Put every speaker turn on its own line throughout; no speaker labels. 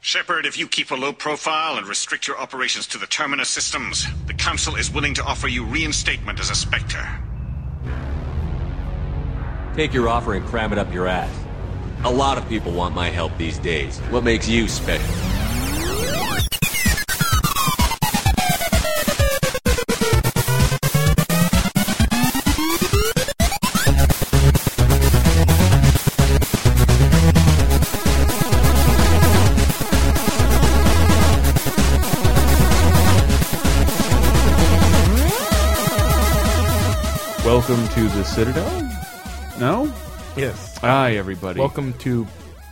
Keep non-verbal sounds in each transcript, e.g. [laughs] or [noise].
Shepard, if you keep a low profile and restrict your operations to the Terminus systems, the Council is willing to offer you reinstatement as a Spectre.
Take your offer and cram it up your ass. A lot of people want my help these days. What makes you special?
Welcome to the Citadel. No.
Yes.
Hi, everybody.
Welcome to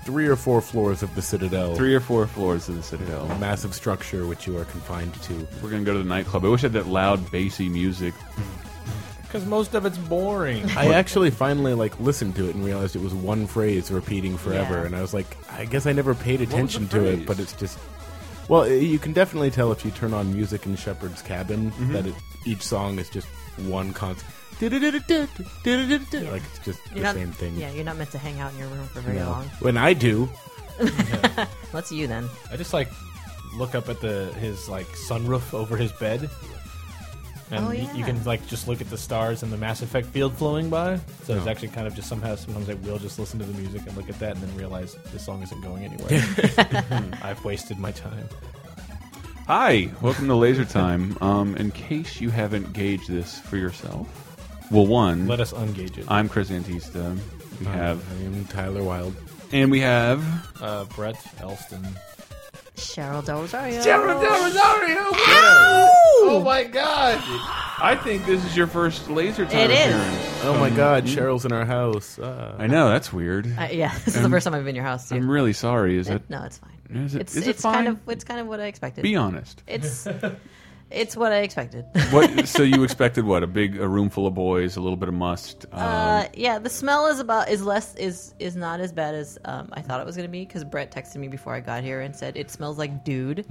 three or four floors of the Citadel.
Three or four floors of the Citadel.
massive structure which you are confined to.
We're gonna go to the nightclub. I wish I had that loud, bassy music.
Because most of it's boring.
I actually finally like listened to it and realized it was one phrase repeating forever,
Yeah.
and I was like, I guess I never paid attention to
phrase?
it, but it's just. Well, i- you can definitely tell if you turn on music in Shepherd's Cabin that it, each song is just one concert. Like it's just the
You're not,
same thing.
Yeah, you're not meant to hang out in your room for very
No.
long.
When I do,
That's you then.
I just like look up at the his like sunroof over his bed, and
Oh,
y- you
yeah.
can like just look at the stars and the Mass Effect field flowing by. So it's actually kind of just somehow sometimes I will just listen to the music and look at that and then realize this song isn't going anywhere.
[laughs]
[laughs] I've wasted my time.
Hi, welcome to Laser Time. Um, in case you haven't gauged this for yourself, well, one,
Let us ungauge it.
I'm Chris Antista. We have,
I am Tyler Wilde.
and we have.
Uh, Brett Elston.
Cheryl Delazario.
Oh my God! I think this is your first Laser Time.
It is.
appearance.
Oh my God, Cheryl's in our house. Uh,
I know that's weird.
Uh, yeah, [laughs] this is the first time I've been in your house too.
I'm really sorry. Is it?
no, it's fine.
Is it-
it's
is it
it's
fine?
kind of it's kind of what I expected.
Be honest.
It's it's what I expected. [laughs]
What? so you expected what? A big, a room full of boys, a little bit of must. Um,
Uh, yeah, the smell is about is less is is not as bad as um, I thought it was gonna be because Brett texted me before I got here and said it smells like dude.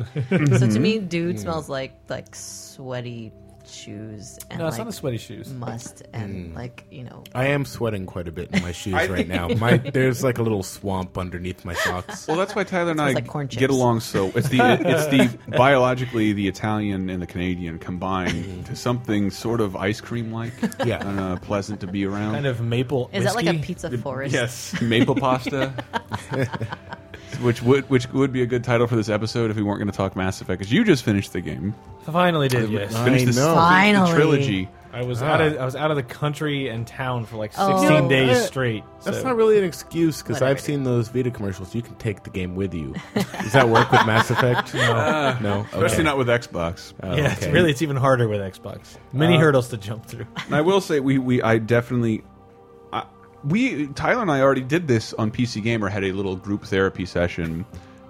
so to me, dude smells like like sweaty shoes and
No, it's
like
not the sweaty shoes.
must and like you know
I am sweating quite a bit in my [laughs] shoes right now. My there's like a little swamp underneath my socks.
Well, that's why Tyler and I
Sounds like corn
get
chips.
along so. It's the it's
[laughs]
the biologically the Italian and the Canadian combined to something sort of ice cream like.
Yeah.
and uh, pleasant to be around.
Kind of maple.
is that like a
whiskey.
pizza forest?
yes, maple pasta. Which would which would be a good title for this episode if we weren't going to talk Mass Effect because you just finished the game,
Finally did yes.
finished this-
know.
the- the
Finally.
trilogy.
I was out
Ah.
of I was out of the country and town for like
Oh.
sixteen
You know,
days
uh,
straight.
That's
so-
not really an excuse because
Whatever
I've
it
seen those Vita commercials. You can take the game with you. Does that work with Mass Effect? No, no.
Especially not with Xbox.
yeah, it's
okay.
really it's even harder with Xbox. Many
Uh,
hurdles to jump through. [laughs]
And I will say we we I definitely I, we Tyler and I already did this on PC Gamer had a little group therapy session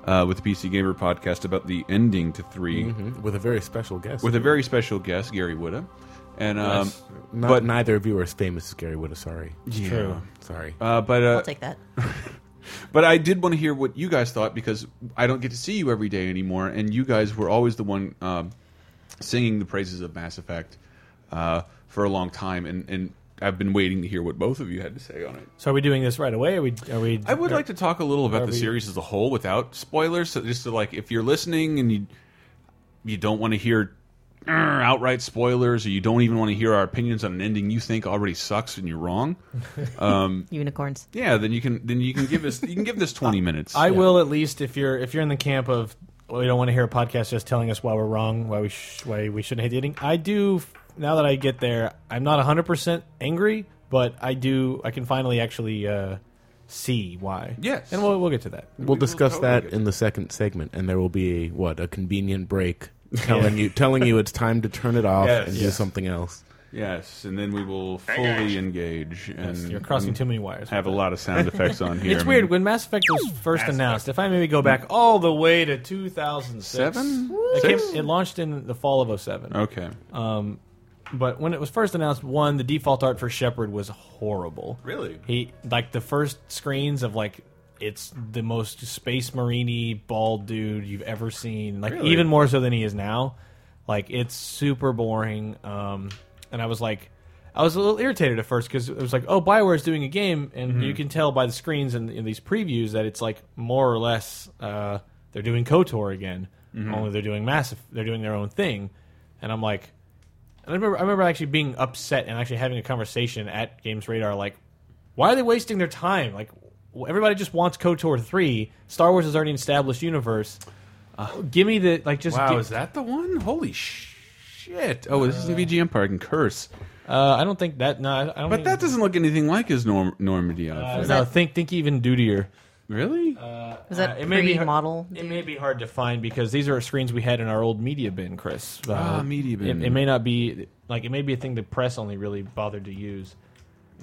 uh, with the PC Gamer podcast about the ending to 3
Mhm. with a very special guest.
with a very special guest Gary Wooda. And um,
not,
but-
but neither of you are as famous as Gary Whitta. Sorry,
True.
sorry.
uh, but uh,
I'll take that.
but I did want to hear what you guys thought because I don't get to see you every day anymore, and you guys were always the one um, singing the praises of Mass Effect uh, for a long time, and and I've been waiting to hear what both of you had to say on it.
So are we doing this right away? Are we? Are we
I would
are-
like to talk a little about the
we-
series as a whole without spoilers. So just to like, if you're listening and you you don't want to hear "Er," outright spoilers, or you don't even want to hear our opinions on an ending you think already sucks and you're
[laughs]
wrong,
Unicorns.
yeah, then you can then you can give us you can give this
[laughs]
20 minutes.
I will at least if you're if you're in the camp of well, we don't want to hear a podcast just telling us why we're wrong, why we sh- why we shouldn't hate dating. I do now that I get there. I'm not 100 percent angry, but I do. I can finally actually uh, see why.
Yes.
and we'll we'll get to that.
we'll discuss
totally
that
get
in the second segment, and there will be a, what a convenient [laughs] break telling you telling you it's time to turn it off
Yes.
and do
Yes.
something else.
yes, and then we will fully engage and
You're crossing
and
too many wires.
have a lot of sound effects
[laughs]
on here.
It's weird when Mass Effect was first announced. If I maybe go back all the way to 2006,
Seven?
It, came,
Six?
it launched in the fall of 07.
Okay.
But when it was first announced, one the default art for Shepard was horrible.
Really?
He like the first screens of like it's the most space marini bald dude you've ever seen. Like
Really?
even more so than he is now. Like it's super boring. Um, and I was like. I was a little irritated at first because it was like, oh, Bioware's doing a game, and you can tell by the screens and in these previews that it's like more or less uh, they're doing KOTOR again. Only they're doing massive. They're doing their own thing, and I'm like, and I remember I remember actually being upset and actually having a conversation at Games Radar like, why are they wasting their time? Like, w- everybody just wants KOTOR three. Star Wars is already an established universe. Uh, give me the like just.
Wow,
give-
is that the one? Holy shit! Oh, this is a VG Empire. I can curse,
uh, I don't think that. No, I I don't.
but that
think-
doesn't look anything like his Norm- Normandy outfit.
No, think think even dutier.
Really?
Was that
Uh, it may be
pre
har-
model?
It may be hard to find because these are screens we had in our old media bin, Chris. Uh,
Ah, media bin.
It, it may not be like it may be a thing the press only really bothered to use.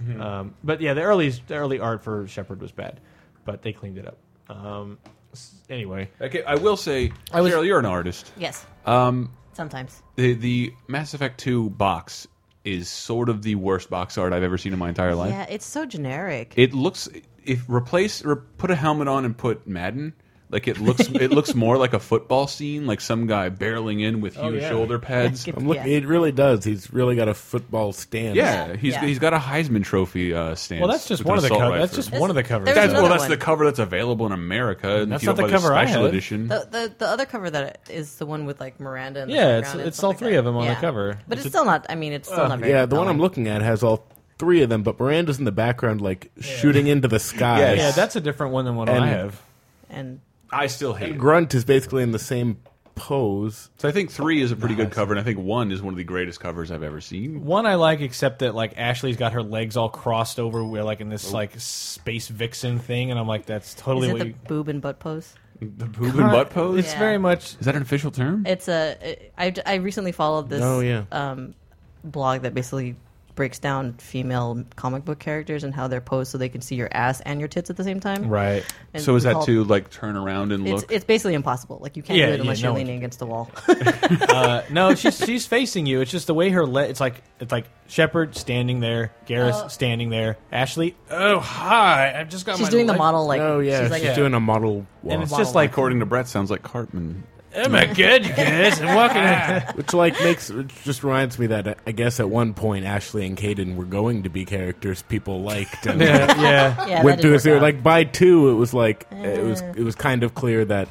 Mm-hmm.
Um, but yeah, the early the early art for Shepard was bad, but they cleaned it up. Um, s- anyway,
okay, I will say,
I was-
Cheryl, you're an artist.
Yes.
Um,
Sometimes.
The the Mass Effect Two box is sort of the worst box art I've ever seen in my entire life.
Yeah, it's so generic.
It looks if replace or put a helmet on and put Madden. Like it looks, it looks
[laughs]
more like a football scene, like some guy barreling in with huge
yeah.
shoulder pads.
Like,
I'm look,
yeah.
It really does. He's really got a football stance.
Yeah, he's
Yeah.
he's got a Heisman Trophy uh, stance.
well, that's just
with
one
an
of the
assault
co- that's
rifle.
just
That's-
one of the covers.
there's
That's- well,
another
that's
one.
the cover that's available in America. and
That's
if you
not
don't
the
buy
cover I
special
had.
edition.
The, the the other cover that is the one with like Miranda. In the
Yeah, it's-
background and
it's
stuff
all
like
three
that.
of them on the
Yeah.
cover.
But
It's
it's,
a-
still not. I mean, it's still not very.
Yeah, the one I'm
compelling.
looking at has all three of them, but Miranda's in the background, like shooting into the sky.
Yes.
yeah, that's a different one than what
And-
I have.
And
I still hate. it.
Grunt is basically in the same pose.
So I think three is a pretty good cover, and I think one is one of the greatest covers I've ever seen.
One I like, except that like Ashley's got her legs all crossed over, where like in this like space vixen thing, and I'm like, that's totally
is it
what
the
you.
boob and butt pose?
The boob and butt pose.
It's
Yeah.
very much
Is that an official term?
It's a. I I recently followed this.
Oh, yeah.
Um, blog that basically breaks down female comic book characters and how they're posed so they can see your ass and your tits at the same time.
right.
And
so is that
called-
to like turn around and
It's
look?
it's basically impossible. Like you can't
Yeah,
do
yeah,
it unless
no
you're
one
leaning against the wall.
Uh, no, she's she's facing you. It's just the way her le- it's like it's like Shepard standing there, Garrus
Oh.
standing there, Ashley. Oh hi, I've just got
she's
my
doing the
leg-
model like.
oh yeah,
She's
she's,
like,
doing a model
and
walk,
it's just like
According to Brett, sounds like Cartman.
am I good, you guys? And [laughs] walking.
which like makes which just reminds me that uh, I guess at one point Ashley and Caden were going to be characters people liked. And
yeah, yeah.
yeah,
went
that
through a
didn't
series.
work out. Uh-huh.
Like by two, it was like it was it was kind of clear that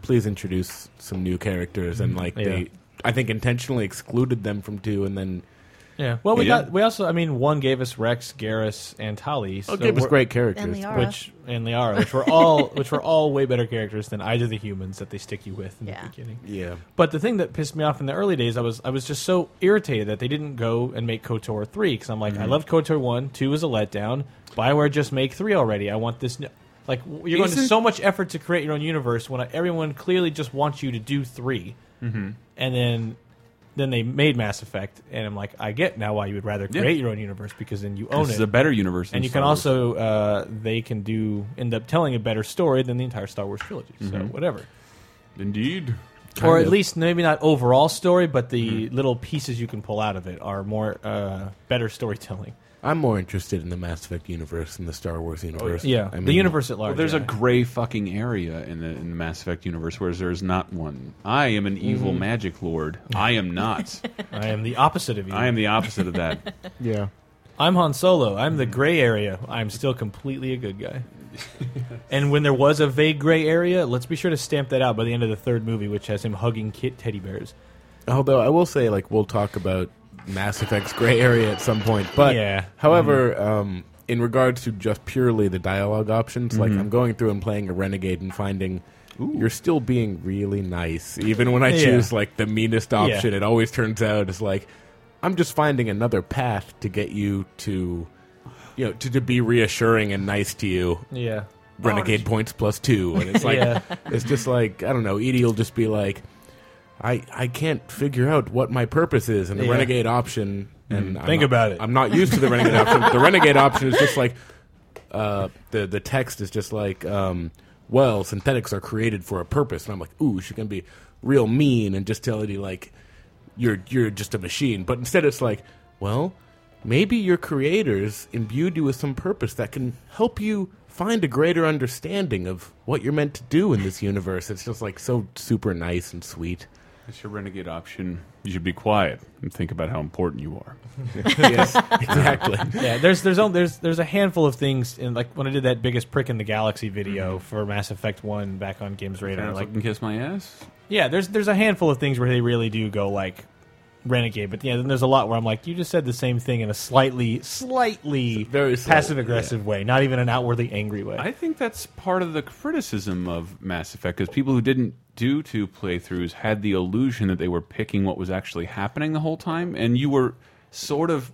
please introduce some new characters and like
Yeah.
they. I think intentionally excluded them from two, and then
yeah. Well, we
Yeah.
got we also. I mean, one gave us Rex, Garrus, and Tali.
so
So
Oh, gave us
we're-
great characters.
And Liara.
Which and Liara, which were all [laughs] which were all way better characters than either of the humans that they stick you with in
Yeah.
the beginning.
Yeah,
But the thing that pissed me off in the early days, I was I was just so irritated that they didn't go and make Kotor three because I'm like,
Mm-hmm.
I loved Kotor one, two was a letdown. Bioware just make three already. I want this. New- like w- you're going to
Isn't-
so much effort to create your own universe when everyone clearly just wants you to do 3
Mm-hmm.
and then then they made Mass Effect, and I'm like, I get now why you would rather
Yeah.
create your own universe because then you own
This
it
is a better universe, than
and you
Star
can
Wars.
also uh, they can do end up telling a better story than the entire Star Wars trilogy. So whatever,
indeed,
or
Kind
at
of.
least maybe not overall story, but the little pieces you can pull out of it are more uh, better storytelling.
I'm more interested in the Mass Effect universe than the Star Wars universe.
Oh, Yeah,
I mean,
the universe at large.
Well, there's
yeah.
a gray fucking area in the, in the Mass Effect universe, whereas there is not one. I am an evil
Mm-hmm.
magic lord. I am
[laughs]
not.
I am the opposite of you.
I am the opposite of that.
[laughs]
Yeah,
I'm Han Solo. I'm the gray area. I'm still completely a good guy. and when there was a vague gray area, let's be sure to stamp that out by the end of the third movie, which has him hugging kit teddy bears.
Although I will say, like, we'll talk about Mass Effect's gray area at some point. But,
Yeah. Mm-hmm.
however, um, in regards to just purely the dialogue options, like,
Mm-hmm.
I'm going through and playing a Renegade and finding you're still being really nice. Even when I
Yeah.
choose, like, the meanest option, it always turns out it's like, I'm just finding another path to get you to, you know, to, to be reassuring and nice to you.
Yeah.
Renegade points plus two, and
[laughs]
it's like
Yeah.
it's just like I don't know. Edie will just be like, I I can't figure out what my purpose is, and the
Yeah.
renegade option. And I'm
Think
not-
about it.
I'm not used to the renegade option. The renegade option is just like uh, the the text is just like, um, well, synthetics are created for a purpose, and I'm like, ooh, she can be real mean and just tell Edie like, you're you're just a machine. But instead, it's like, well, maybe your creators imbued you with some purpose that can help you find a greater understanding of what you're meant to do in this universe. It's just like so super nice and sweet.
That's your renegade option. You should be quiet and think about how important you are.
yes, [laughs] exactly.
[laughs] Yeah, there's there's only, there's there's a handful of things in like when I did that biggest prick in the galaxy
Mm-hmm.
video for Mass Effect One back on Games Radar.
Parents
Like,
can kiss my ass.
yeah, there's there's a handful of things where they really do go like renegade, but yeah, then there's a lot where I'm like, you just said the same thing in a slightly slightly
Very subtle,
passive aggressive way, not even an outwardly angry way.
I think that's part of the criticism of Mass Effect because people who didn't do two playthroughs had the illusion that they were picking what was actually happening the whole time, and you were sort of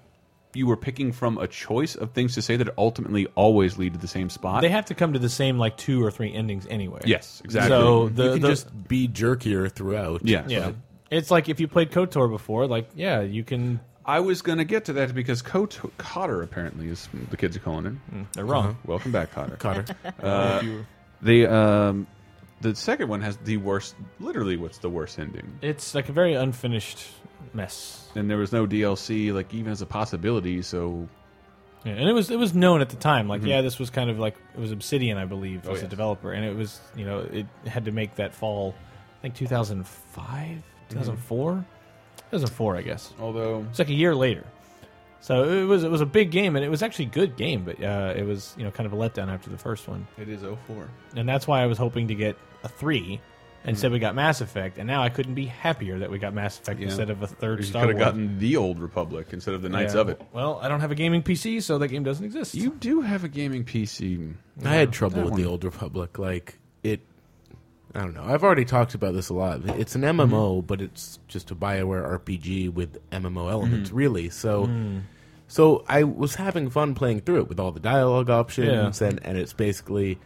you were picking from a choice of things to say that ultimately always lead to the same spot.
they have to come to the same like two or three endings anyway.
yes, exactly.
[laughs]
So
you
the,
can
the
just be jerkier throughout.
yeah,
yeah, it's like if you played Kotor before, like yeah, you can.
I was going to get to that because Kot Cotter apparently is the kids are calling him.
Mm, They're wrong.
Welcome back, Cotter.
Cotter.
the um, the second one has the worst. Literally, what's the worst ending?
It's like a very unfinished mess.
And there was no DLC, like even as a possibility. So
Yeah, and it was it was known at the time. Like, yeah, this was kind of like it was Obsidian, I believe, was
Mm-hmm. Oh, yes.
a developer, and it was you know it had to make that fall. I think 2005,
Mm-hmm.
2004, 2004, I guess.
although
It's like a year later. So it was it was a big game, and it was actually a good game, but uh, it was you know kind of a letdown after the first one,
it is 04.
and that's why I was hoping to get a three. Instead, we got Mass Effect, and now I couldn't be happier that we got Mass Effect
Mm-hmm. Yeah.
instead of a third
You could
Star
have
Wars.
gotten the Old Republic instead of the Knights
Yeah.
of it.
Well, I don't have a gaming PC, so that game doesn't exist.
You do have a gaming PC.
I had trouble with
one.
the old Republic. Like it, I don't know. I've already talked about this a lot. It's an MMO, but it's just a Bioware RPG with MMO elements, really. So, so I was having fun playing through it with all the dialogue options,
Yeah.
and and it's basically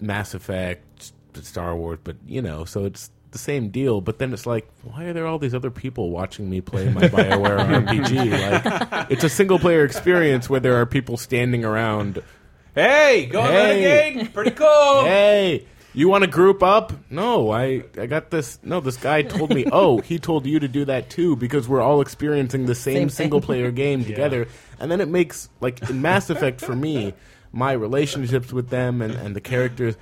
Mass Effect, Star Wars, but you know, so it's the same deal. But then it's like, why are there all these other people watching me play my Bioware RPG? Like, it's a single player experience where there are people standing around.
Hey, go
Hey.
Renegade! Pretty cool.
Hey, you want to group up? No, I I got this. No, this guy told me. Oh, he told you to do that too because we're all experiencing the same,
Same thing.
single
[laughs]
player game together. And then it makes like in Mass Effect for me, my relationships with them and and the characters.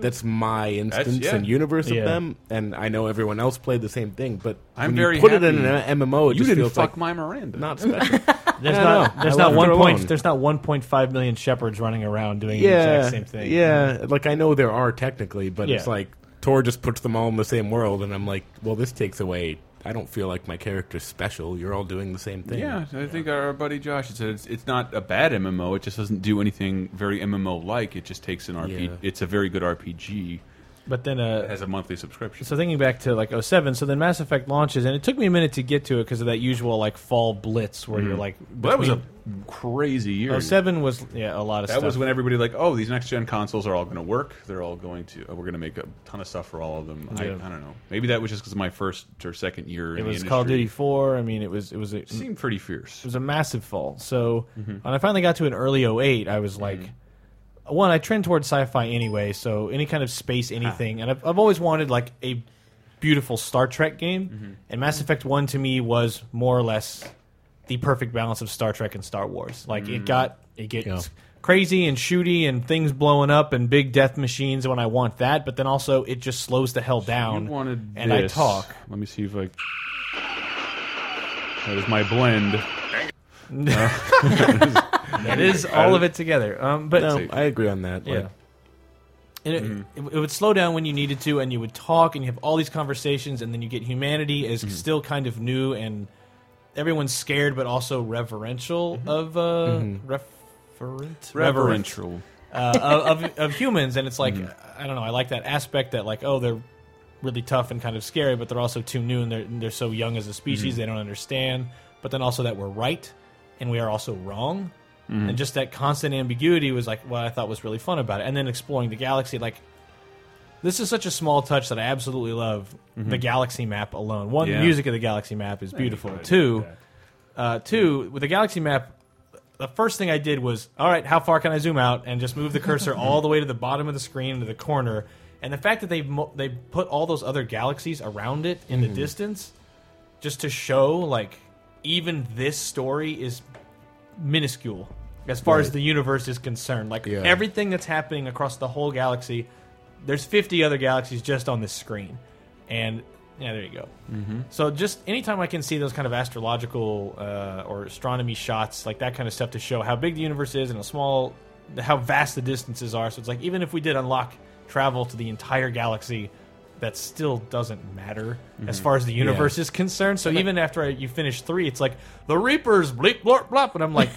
That's my instance
yeah.
and universe
Yeah.
of them, and I know everyone else played the same thing. But
I'm
when
very
you put it in
happy
an MMO. It
You
just
didn't
feels
fuck
like
my Miranda.
not special.
There's
I
not
know.
there's
I
not
left
one
her
point
alone.
there's not one point five million shepherds running around doing the
yeah,
exact same thing.
Yeah, like I know there are technically, but it's
Yeah.
like Tor just puts them all in the same world, and I'm like, well, this takes away. I don't feel like my character's special. You're all doing the same thing.
Yeah, I think our buddy Josh said it's, it's not a bad MMO. It just doesn't do anything very MMO like. It just takes an RPG.
Yeah.
It's a very good RPG.
But then
It
uh
has a monthly subscription.
so thinking back to like 07, so then Mass Effect launches and it took me a minute to get to it because of that usual like fall blitz where
Mm-hmm.
you're like
Well, that was a crazy year.
between- 07 was yeah, a lot of
that
Oh, stuff.
was when everybody like, oh, these next gen consoles are all going to work. They're all going to. uh, We're going to make a ton of stuff for all of them. I,
Yeah.
I don't know. Maybe that was just because my first or second year.
it
in
was
the
Call of Duty
industry.
4. I mean, it was it was a,
It seemed pretty fierce.
it was a massive fall. So
Mm-hmm.
when I finally got to an early 08, I was like, one, I trend towards sci-fi anyway, so any kind of
Ah.
space anything, and I've, I've always wanted like a beautiful Star Trek game,
Mm-hmm.
and Mass Effect One to me was more or less the perfect balance of Star Trek and Star Wars. Like it got it gets
Yeah.
crazy and shooty and things blowing up and big death machines when I want that, but then also it just slows the hell down.
You wanted
and
this.
I talk.
Let me see if I. That is my blend.
It is all of it together. Um, but
No, I agree on that. Like, Mm-hmm.
Yeah. And it, it, it would slow down when you needed to, and you would talk, and you have all these conversations, and then you get humanity is
Mm-hmm.
still kind of new, and everyone's scared, but also reverential
Mm-hmm.
of uh, referent,
Reverential.
uh, of, of of humans, and it's like I don't know, I like that aspect that like oh they're really tough and kind of scary, but they're also too new and they're and they're so young as a species they don't understand. But then also that we're right and we are also wrong, and just that constant ambiguity was like what I thought was really fun about it. And then exploring the galaxy, like this is such a small touch that I absolutely love. The galaxy map alone, one
Yeah.
the music of the galaxy map is beautiful. Two, uh, two with the galaxy map the first thing I did was, all right, how far can I zoom out? And just move the cursor all the way to the bottom of the screen to the corner. And the fact that they mo- they put all those other galaxies around it in the distance, just to show like even this story is minuscule as far as the universe is concerned. Like
Yeah.
everything that's happening across the whole galaxy, there's 50 other galaxies just on this screen, and Yeah, there you go. Mm-hmm. So just anytime I can see those kind of astrological uh, or astronomy shots, like that kind of stuff, to show how big the universe is and how small, how vast the distances are. So it's like even if we did unlock travel to the entire galaxy, that still doesn't matter
Mm-hmm.
as far as the universe is concerned. So even after I, you finish three, it's like the Reapers bleep blorp blop, and
[laughs]
I'm like,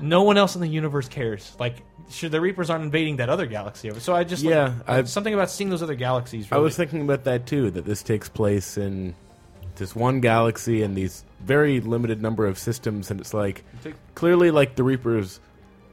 no one else in the universe cares. Like. Sure, the Reapers aren't invading that other galaxy over. So I just like,
Yeah, I've-
something about seeing those other galaxies.
I
really-
was thinking about that too. That this takes place in this one galaxy and these very limited number of systems, and it's like clearly like the Reapers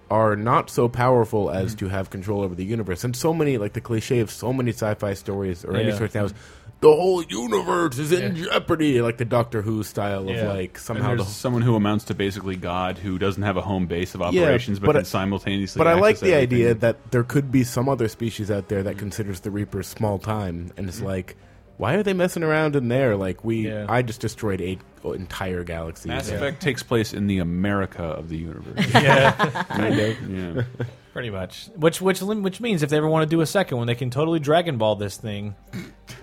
are not so powerful as to have control over the universe. And so many like the cliche of so many sci-fi stories or any
Yeah.
sort now is the whole universe is in jeopardy, like the Doctor Who style of
Yeah.
like
And
somehow
there's
the
someone who amounts to basically God, who doesn't have a home base of operations, but,
but I-
can simultaneously.
But I like
access
the
everything.
idea that there could be some other species out there that considers the Reapers small time, and
Mm.
it's like, why are they messing around in there? Like we,
Yeah.
I just destroyed eight entire galaxies.
Mass
Yeah.
Effect takes place in the America of the universe.
[laughs]
[laughs]
yeah,
kind of. Yeah.
pretty much. Which which lim- which means if they ever want to do a second one, they can totally Dragon Ball this thing,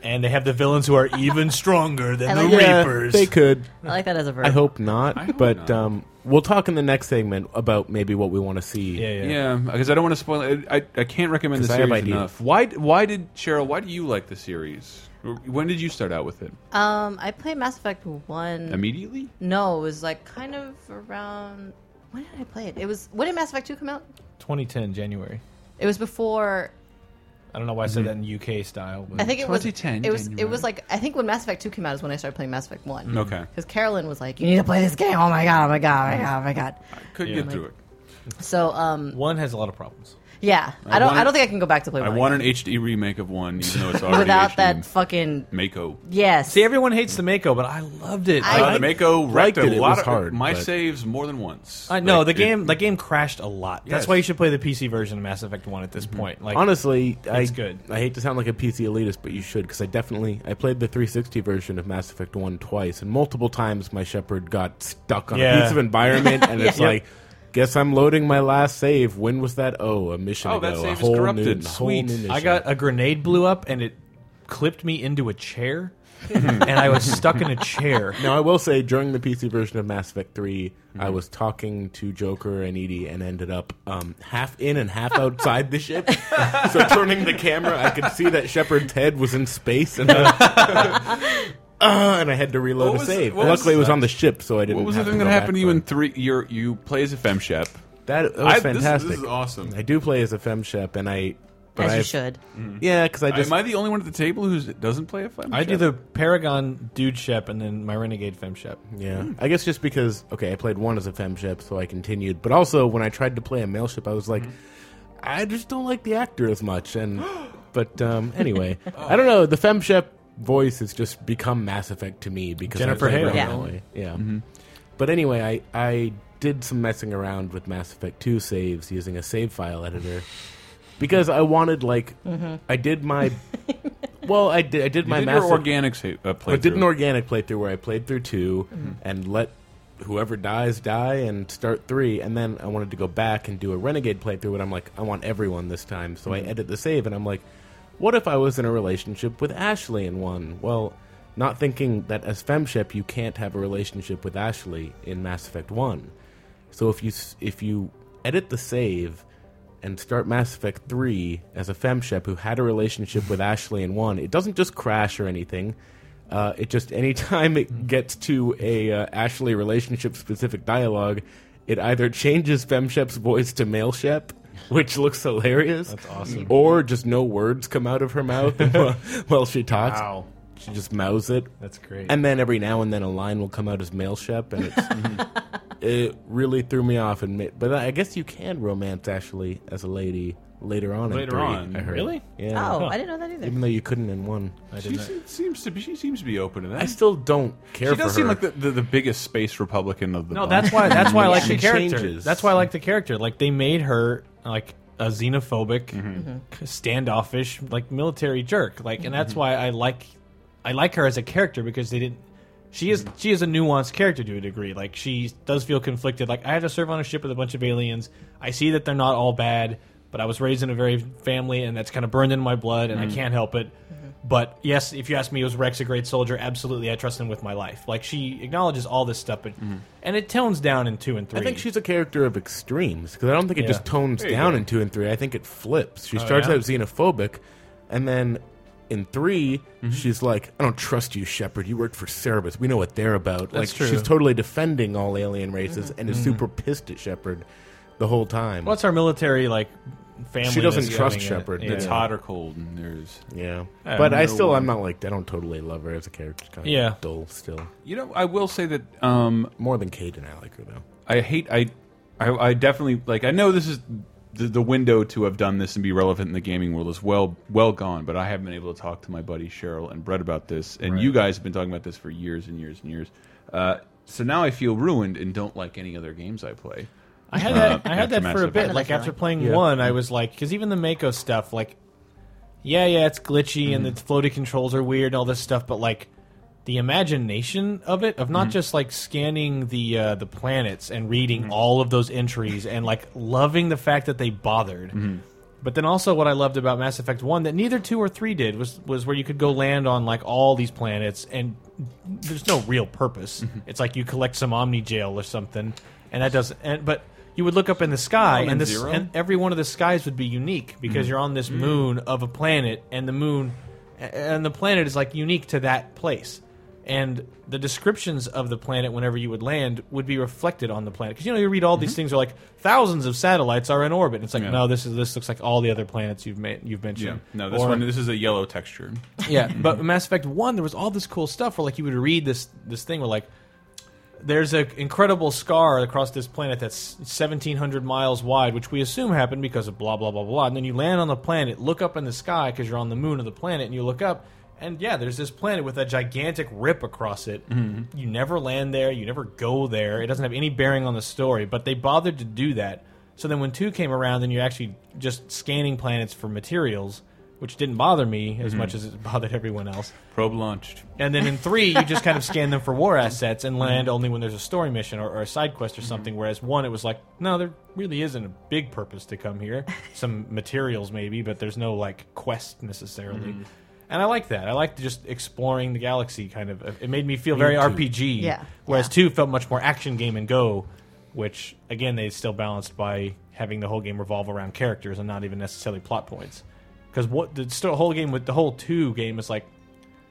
and they have the villains who are even stronger than
I
the
like that.
Yeah,
Reapers.
they could.
I like that as a verb.
I hope not.
hope
but
not.
Um, we'll talk in the next segment about maybe what we want to see.
yeah, yeah,
Yeah, because I don't want to spoil it. I, I can't recommend the
'Cause I have
series
ideas.
enough. Why why did Cheryl? Why do you like the series? When did you start out with it?
Um, I played Mass Effect One.
Immediately?
no, it was like kind of around. When did I play it? It was when did Mass Effect Two come out?
2010 January.
It was before.
I don't know why I said that in UK style.
[laughs]
But
I think it was
2010
It was. It
January.
was like I think when Mass Effect Two came out is when I started playing Mass Effect One.
Okay,
Because Carolyn was like, "You need to play this game. Oh my god! Oh my god! Oh my god! Oh my god!"
could get through it.
So, um,
one has a lot of problems.
yeah, I,
I
don't.
want
I
it-
don't think I can go back to play.
I
one
want
again.
an HD remake of one, even
[laughs]
though it's already
without
HD.
that fucking
Mako.
yes.
See, everyone hates the Mako, but I loved it.
I-
Uh, the
Like-
Mako wrecked
liked it,
a
it
lot
was
of
hard,
my
but-
saves more than once.
I know
Like,
the
it-
game. the game crashed a lot.
Yes.
That's why you should play the PC version of Mass Effect One at this point. Like
Honestly, I,
It's good.
I hate to sound like a PC elitist, but you should because I definitely I played the 360 version of Mass Effect One twice, and multiple times my Shepard got stuck on a
Yeah.
piece of environment, and it's
Yeah.
like, guess I'm loading my last save. When was that? Oh, a mission
Oh,
ago.
that
a
save is
whole new-
corrupted.
a whole
Sweet.
new mission.
I got a grenade blew up and it clipped me into a chair, and I was stuck in a chair.
Now I will say, during the PC version of Mass Effect 3
Mm-hmm.
I was talking to Joker and Edie, and ended up um, half in and half outside
[laughs]
the ship. so turning the camera, I could see that Shepard's head was in space, and I- Ah, [laughs] and I had to reload
What
a
was-
save.
what was-
Luckily, it was on the ship, so I didn't.
What was the
have
thing that
to go
happened
back
to you in
for
three? You're, you play as a fem shep.
it. that, that was
I- this is-
fantastic.
This is awesome.
I do play as a fem shep, and I. But
as
I
you should.
Yeah, because I just
Am Mm-hmm. I the only one at the table who doesn't play a fem?
I do
shep?
the Paragon dude ship and then my renegade fem ship.
Yeah,
Hmm.
I guess just because okay, I played one as a fem ship, so I continued. But also, when I tried to play a male ship, I was like,
Hmm.
I just don't like the actor as
[gasps]
much. And but um, anyway, I don't know. The fem ship voice has just become Mass Effect to me because I
Jennifer
played
Hale.
Rogue
Yeah.
that way. yeah.
Mm-hmm.
But anyway, I I did some messing around with Mass Effect two saves using a save file editor because I wanted like I did my. Well, I did. I did
You
my
did
Mass
your
Effect-
organic sa- uh, play.
I did an organic playthrough where I played through 2 and let whoever dies die and start three, and then I wanted to go back and do a renegade playthrough. And I'm like, I want everyone this time, so I edit the save, and I'm like, what if I was in a relationship with Ashley in one? Well, not thinking that as femship you can't have a relationship with Ashley in Mass Effect One. So if you s- if you edit the save and start Mass Effect 3 as a femshep who had a relationship [laughs] with Ashley in 1, it doesn't just crash or anything. Uh, it just anytime it gets to a uh, Ashley relationship specific dialogue, it either changes femshep's voice to male shep, which looks hilarious. That's awesome. Or just no words come out of her mouth [laughs] while, while she talks.
Wow.
She just mouths it.
That's great.
And then every now and then a line will come out as male shep, and it's, it really threw me off. And ma- but I guess you can romance Ashley as a lady later on. in
Later
three,
on.
I heard.
Really?
Yeah.
Oh, I didn't know that either.
Even though you couldn't in one, I,
She se- seems to be. She seems to be open to that.
still don't care.
she
for
does seem
her.
like the, the, the biggest space Republican of the.
No,
bunch.
that's why.
[laughs]
That's why I like
Yeah.
the
She
character.
changes.
That's why I like the character. Like they made her like a xenophobic,
Mm-hmm.
k- standoffish, like military jerk. Like, and that's why I like, I like her as a character because they didn't. She is she is a nuanced character to a degree. Like she does feel conflicted. Like I have to serve on a ship with a bunch of aliens. I see that they're not
Mm-hmm.
all bad, but I was raised in a very family, and that's kind of burned into my blood, and I can't help it. But yes, if you ask me, was Rex a great soldier? Absolutely, I trust him with my life. Like she acknowledges all this stuff, but and it tones down in two and three.
I think she's a character of extremes because I don't think it
Yeah.
just tones down in two and three. I think it flips. She starts
Oh, yeah?
out xenophobic, and then in 3
Mm-hmm.
she's like, "I don't trust you, Shepard. You worked for Cerebus. We know what they're about."
That's
like
true. Mm-hmm.
she's totally defending all alien races and is super pissed at Shepard the whole time.
what's our military like family?
She doesn't
that's
trust
coming in?
Shepard.
Yeah.
It's
[laughs] It's hot or cold, and there's.
yeah,
I
but
don't
I
know.
still I'm not like I don't totally love her as a character. She's Kind of
Yeah.
dull still.
You know, I will say that um,
More than Kate and I like her though.
I hate. I, I, I definitely like. I know this is the, the window to have done this and be relevant in the gaming world is well, well gone. But I haven't been able to talk to my buddy Cheryl and Brett about this, and you guys have been talking about this for years and years and years. Uh, so now I feel ruined and don't like any other games I play.
I had that. I had
after
that
Mass
for a
Effect.
bit.
that
Like
feeling.
after playing one, I was like, because even the Mako stuff, like, yeah, yeah, it's glitchy
Mm-hmm.
and the floaty controls are weird and all this stuff, but like the imagination of it, of not just like scanning the uh, the planets and reading all of those entries and like loving the fact that they bothered. But then also what I loved about Mass Effect One that neither two or three did was was where you could go land on like all these planets and there's no real purpose. it's like you collect some Omni Jail or something, and that doesn't. And but you would look up in the sky,
One
and
and
this
zero?
and every one of the skies would be unique
Mm.
because you're on this moon of a planet, and the moon and the planet is like unique to that place. And the descriptions of the planet whenever you would land would be reflected on the planet because you know you read all these things are like thousands of satellites are in orbit. It's like
Mm-hmm. Yeah.
no, this is this looks like all the other planets you've made, you've mentioned.
No, this
Or-
one. This is a yellow texture. [laughs]
[laughs] yeah, but Mass Effect One, there was all this cool stuff where like you would read this this thing where like there's an incredible scar across this planet that's 1,700 miles wide, which we assume happened because of blah blah blah blah. And then you land on the planet, look up in the sky because you're on the moon of the planet, and you look up, and yeah, there's this planet with a gigantic rip across it. You never land there, you never go there. It doesn't have any bearing on the story, but they bothered to do that. So then when two came around, and you're actually just scanning planets for materials which didn't bother me as much as it bothered everyone else.
Probe launched.
And then in three, you just
[laughs]
kind of scan them for war assets and land only when there's a story mission or, or a side quest or
Mm-hmm.
something. Whereas one, it was like, no, there really isn't a big purpose to come
[laughs]
here. Some materials maybe, but there's no like quest necessarily.
Mm-hmm.
And I like that. I like just exploring the galaxy. Kind of, it made me feel very RPG.
Yeah.
Whereas two felt much more action game and go, which again they still balanced by having the whole game revolve around characters and not even necessarily plot points. Because what the st- whole game with the whole two game is like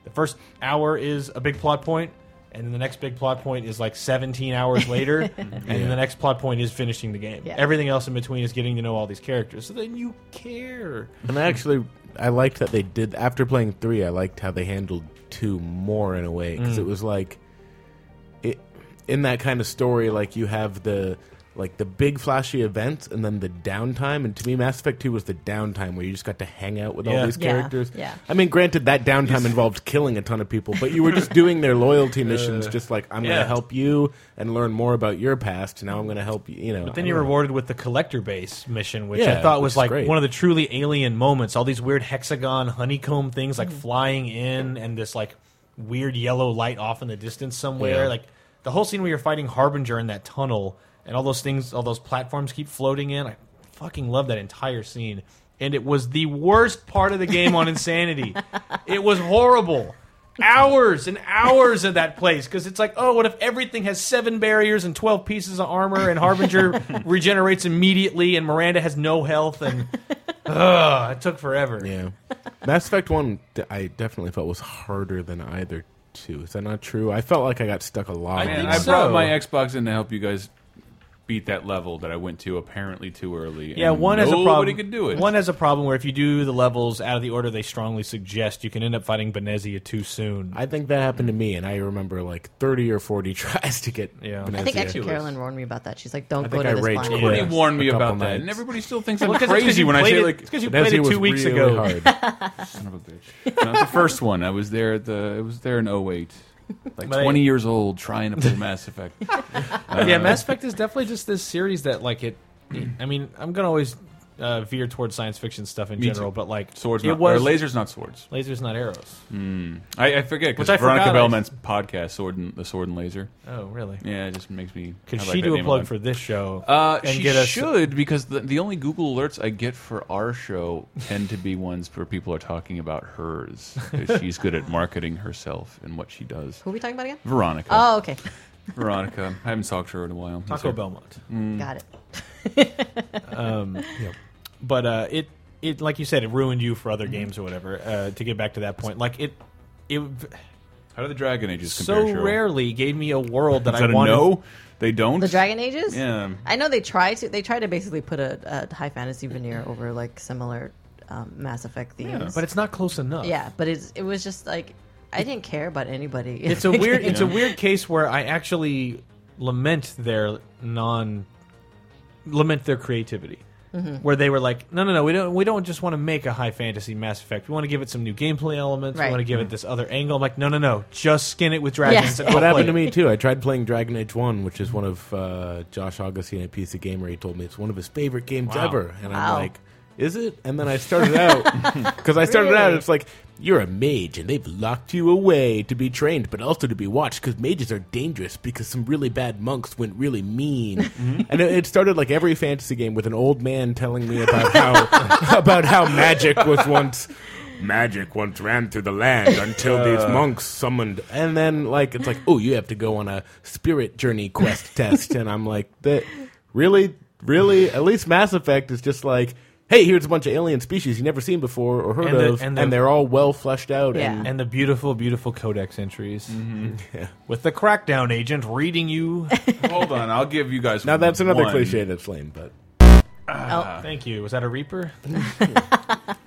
the first hour is a big plot point and then the next big plot point is like 17 hours later and then the next plot point is finishing the game
Yeah.
everything else in between is getting to know all these characters so then you care
And I actually, I liked that they did after playing three. I liked how they handled two more in a way
Mm.
because it was like, it in that kind of story, like you have the like the big flashy events and then the downtime. And to me, Mass Effect Two was the downtime where you just got to hang out with all
Yeah.
these
Yeah,
characters.
yeah.
I mean, granted, that downtime involved killing a ton of people, but you were just doing their
[laughs]
loyalty missions. Just like I'm going
Uh, Yeah.
to help you and learn more about your past. Now I'm going to help you. You know.
Then
I
you're
don't know.
rewarded with the collector base mission, which I
Yeah,
thought
which
was
is
like
great.
one of the truly alien moments. All these weird hexagon honeycomb things like flying in and this like weird yellow light off in the distance somewhere.
Yeah.
Like the whole scene where you're fighting Harbinger in that tunnel and all those things, all those platforms keep floating in. I fucking love that entire scene. And it was the worst part of the game on Insanity. It was horrible. Hours and hours of that place because it's like, oh, what if everything has seven barriers and twelve pieces of armor, and Harbinger regenerates immediately, and Miranda has no health, and ugh, it took forever.
Yeah. [laughs] Mass Effect 1, d- I definitely felt was harder than either two. Is that not true? I felt like I got stuck a lot.
I,
on
think
that.
so.
brought my Xbox in to help you guys beat that level that I went to apparently too early.
Yeah,
and
one has a
nobody
problem.
could do it.
One has a problem where if you do the levels out of the order they strongly suggest, you can end up fighting Benezia too soon.
I think that happened to me, and I remember like 30 or 40 [laughs] tries to get
Yeah.
Benazia.
I think actually Carolyn warned me about that. She's like, "Don't
I
go
think
to
I
this
rage
planet."
quit.
Everybody
Yeah,
warned me
a couple
about that, and
nights.
everybody still thinks I'm
'cause it's 'cause
crazy
you
when I
played
say
it-
like
it's 'cause you played
Benazia [laughs]
it
was
two weeks
really
ago. [laughs]
hard.
Son of a
[laughs]
bitch. No, the first one. I was there at the. I was there in 08. Like
But I-
20 years old trying to play Mass
[laughs]
Effect.
Uh,
[laughs]
yeah, Mass Effect is definitely just this series that like it. I mean, I'm gonna always uh, veer towards science fiction stuff in
Me
general,
too.
but like
Swords,
it
not,
was
or Hmm. lasers, not swords.
lasers, not arrows.
I, I forget because
Which I
Veronica
forgot, I-
Bellman's podcast, Sword and the Sword and Laser.
Oh, really?
Yeah, it just makes me.
Could
I like
she
that
do a
name
plug
lot.
for this show?
Uh,
and
she
get us-
should because the, the only Google alerts I get for our show tend to be ones where people are talking about hers.
[laughs]
'cause she's good at marketing herself and what she does.
Who are we talking about again?
Veronica.
Oh, okay.
Veronica. I haven't talked to her in a while.
Taco Belmont.
Hmm.
Mm.
Got it.
but uh, it it like you said, it ruined you for other games or whatever. Uh, to get back to that point, like it it
How do the Dragon Ages compare?
so
Cheryl?
rarely gave me a world that,
Is that
I
a
wanted.
no? They don't.
[laughs] The Dragon Ages.
Yeah.
I know they try to. They try to basically put a, a high fantasy veneer over like similar um, Mass Effect themes.
but it's not close enough.
yeah, but it's it was just like I didn't care about anybody.
it's
[laughs]
a weird it's
[laughs]
a weird case where I actually lament their non lament their creativity.
Mm-hmm.
Where they were like, no, no, no, we don't, we don't just want to make a high fantasy Mass Effect. We want to give it some new gameplay elements.
Right.
We want to give
Mm-hmm.
it this other angle. I'm like, no, no, no, just skin it with dragons.
[laughs] Yes.
and I'll
What
play
happened to
it."
me too? I tried playing Dragon Age One, which is one of uh, Josh Augustine at PC Gamer. He told me it's one of his favorite games
Wow.
ever, and
Wow.
I'm like, "Is it?" And then I started out [laughs] because I started out.
Really?
It's like you're a mage, and they've locked you away to be trained, but also to be watched because mages are dangerous. Because some really bad monks went really mean, and it, it started like every fantasy game with an old man telling me about how [laughs] about how magic was once magic once ran through the land until these monks summoned and then like it's like oh you have to go on a spirit journey quest test and i'm like that really really at least mass effect is just like hey here's a bunch of alien species you never seen before or heard
And the-
of
and
and,
the-
they're all well fleshed out
Yeah.
and
and the beautiful, beautiful codex entries
Mm-hmm.
[laughs] with the crackdown agent
[laughs]
reading you.
Hold on, I'll give you
[laughs]
guys.
now that's another
one.
cliche that's lame but
Ah.
Thank you. Was that a Reaper?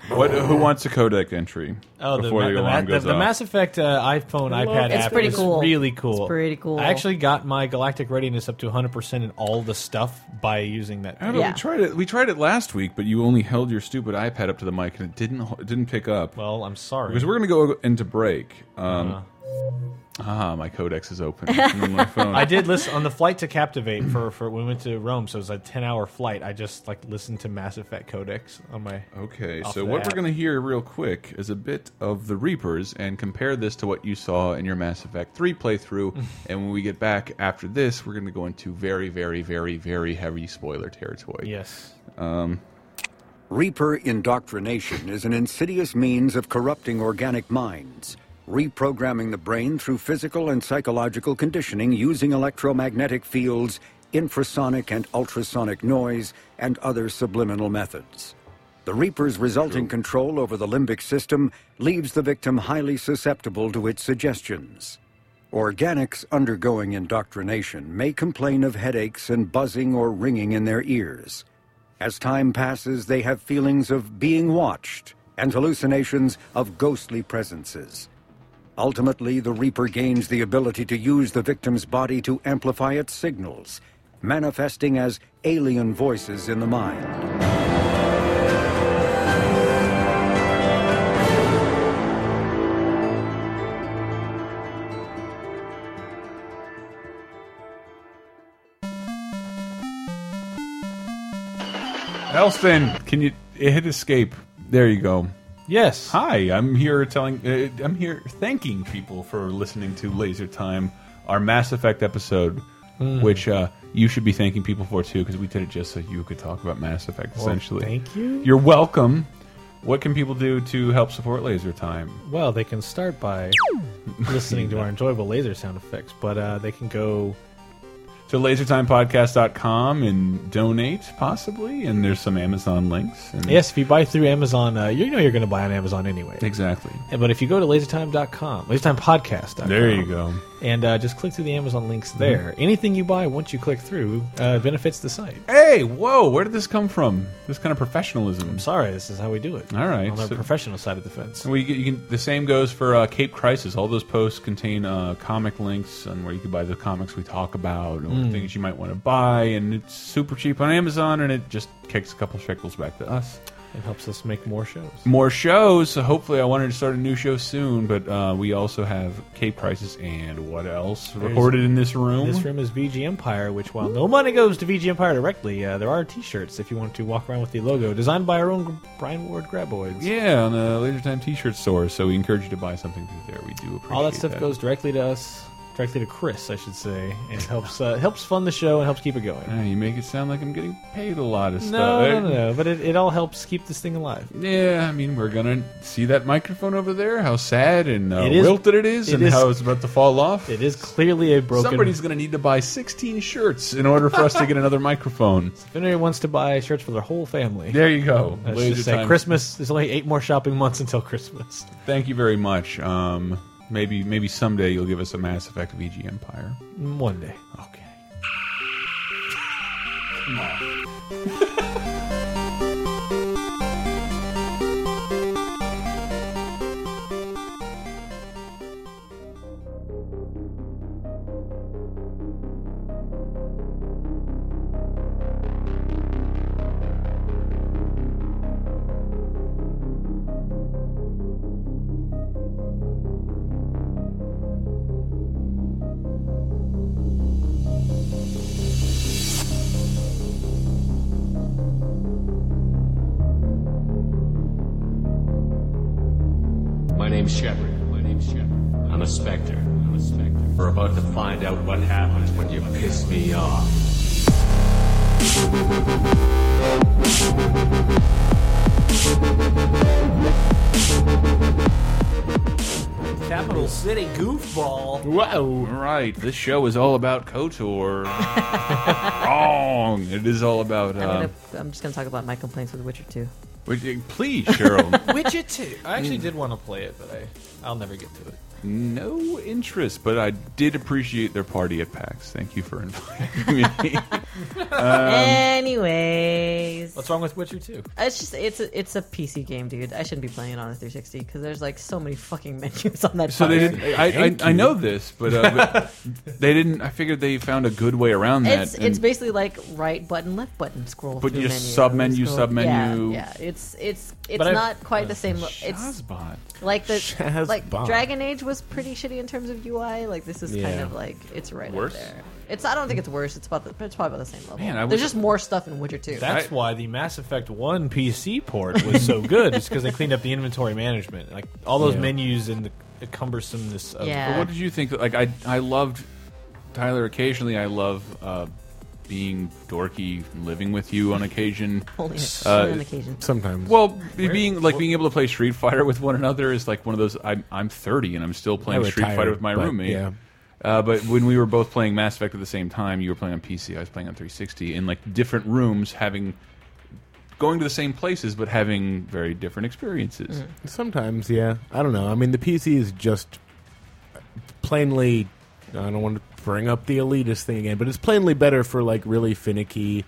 What, who wants a codec entry?
Oh, the,
before
ma-
the,
the, ma-
alarm
the,
goes
the
off?
Mass Effect uh, iPhone iPad
It's
app
pretty
is
cool.
really cool.
It's pretty cool.
I actually got my galactic readiness up to 100 percent in all the stuff by using that.
I don't
Thing.
know,
Yeah.
we tried it. We tried it last week, but you only held your stupid iPad up to the mic, and it didn't. It didn't pick up.
Well, Uh-huh. I'm sorry.
Because we're going to go into break. Um, Ah, my codex is
[laughs]
open on my phone.
I did listen on the flight to Captivate for for we went to Rome, so it was a 10 hour flight. I just like listened to Mass Effect codex on my.
Okay,
Off
so
the
what
app.
we're going to hear real quick is a bit of the Reapers and compare this to what you saw in your Mass Effect 3 playthrough.
[laughs]
and when we get back after this, we're going to go into very, very, very, very heavy spoiler territory.
Yes.
Reaper indoctrination is an insidious means of corrupting organic minds, reprogramming the brain through physical and psychological conditioning using electromagnetic fields, infrasonic and ultrasonic noise, and other subliminal methods. The Reaper's resulting control over the limbic system leaves the victim highly susceptible to its suggestions. Organics undergoing indoctrination may complain of headaches and buzzing or ringing in their ears. As time passes, they have feelings of being watched and hallucinations of ghostly presences. Ultimately, the Reaper gains the ability to use the victim's body to amplify its signals, manifesting as alien voices in the mind.
Elston, can you it hit escape? There you go.
Yes.
Hi, I'm here telling, uh, I'm here thanking people for listening to Laser Time, our Mass Effect episode,
Hmm.
which uh, you should be thanking people for too, because we did it just so you could talk about Mass Effect. essentially,
thank you.
You're welcome. What can people do to help support Laser Time?
Well, they can start by listening to our enjoyable laser sound effects, but uh, they can go
To lasertimepodcast.com and donate possibly, and there's some Amazon links. And
Yes, if you buy through Amazon, uh, you know you're going to buy on Amazon anyway.
exactly.
But if you go to lasertime.com, lasertimepodcast.com,
There you go. Mm-hmm.
and uh, just click through the Amazon links there. Anything you buy once you click through uh, benefits the site.
Hey, whoa! Where did this come from? This kind of professionalism.
I'm sorry, this is how we do it.
All right,
on the
so-
professional side of the fence.
We you can, the same goes for uh, Cape Crisis. All those posts contain uh, comic links and where you can buy the comics we talk about or
Hmm.
things you might want to buy, and it's super cheap on Amazon, and it just kicks a couple shekels back to us.
It helps us make more shows.
more shows. So hopefully, I wanted to start a new show soon. But uh, we also have K prices and what else recorded in this room?
This room is VG Empire, which while no money goes to VG Empire directly, uh, there are T-shirts if you want to walk around with the logo, designed by our own Brian Ward Graboids.
Yeah, on the Laser Time T-shirt store. So we encourage you to buy something through there. We do appreciate
All that stuff goes directly to us, directly to Chris, I should say, and helps uh, helps fund the show and helps keep it going.
Ah, you make it sound like I'm getting paid a lot of
No,
stuff.
no, no, no, but it, it all helps keep this thing alive.
Yeah, I mean, we're gonna see that microphone over there. How sad and uh,
It is-
wilted it is,
it
and
is-
how it's about to fall off.
It is clearly a broken.
Somebody's gonna need to buy 16 shirts in order for us to get another
[laughs]
microphone.
if anyone wants to buy shirts for their whole family,
There you go.
let's
Laser
just say
Time.
Christmas. There's only eight more shopping months until Christmas.
Thank you very much. Um, maybe maybe someday you'll give us a Mass Effect VG Empire.
One day.
Okay.
My name's Shepard. My name's Shepard. I'm a specter. I'm a specter. We're about to find out what happens when you piss me off.
Capital City goofball.
Whoa! Right. This show is all about
[laughs]
Kotor. Wrong. It is all about.
I'm,
Uh,
gonna, I'm just going to talk about my complaints with Witcher 2.
which- please,
[laughs]
Cheryl.
Witcher 2. [laughs] I actually did want to play it, but I, I'll never get to it.
no interest, but I did appreciate their party at PAX. Thank you for inviting me.
Anyways,
What's wrong with Witcher 2?
it's just it's a, it's a PC game, dude. I shouldn't be playing it on a 360 because there's like so many fucking [laughs] menus on that.
[laughs] So they
fucking-
didn't. I, I, I know this, but, uh, [laughs] but they didn't. I figured they found a good way around that.
It's
and-
it's basically like right button, left button, scroll.
But
through
you
menu,
just sub-menu,
scroll-
sub-menu.
Yeah, yeah, it's it's it's
But I've-
not quite the same. lo- It's
Shazbot.
like the
Shaz
like
bomb.
Dragon Age was pretty shitty in terms of UI. Like this is kind
Yeah.
of like it's right
Worse?
up there. It's I don't think it's worse. It's about the, it's probably about the same level.
Man, I
There's
wish-
just more stuff in Witcher 2.
That's
I-
why the Mass Effect 1 PC port was so good. It's because they cleaned up the inventory management. Like, all those
Yeah.
menus and the, the cumbersomeness of
Yeah.
But what did you think? Like I, I loved Tyler. Occasionally, I love uh, being dorky, and living with you on occasion.
only a-
Uh,
only on occasion.
Sometimes.
Well, be- being like being able to play Street Fighter with one another is like one of those. I'm I'm 30 and I'm still playing
I
Street
retired,
Fighter with my
but,
roommate.
yeah.
Uh, but when we were both playing Mass Effect at the same time, you were playing on PC, I was playing on 360, in like different rooms, having going to the same places but having very different experiences.
Mm. Sometimes, yeah. I don't know. I mean, the PC is just plainly. I don't want to bring up the elitist thing again, but it's plainly better for like really finicky,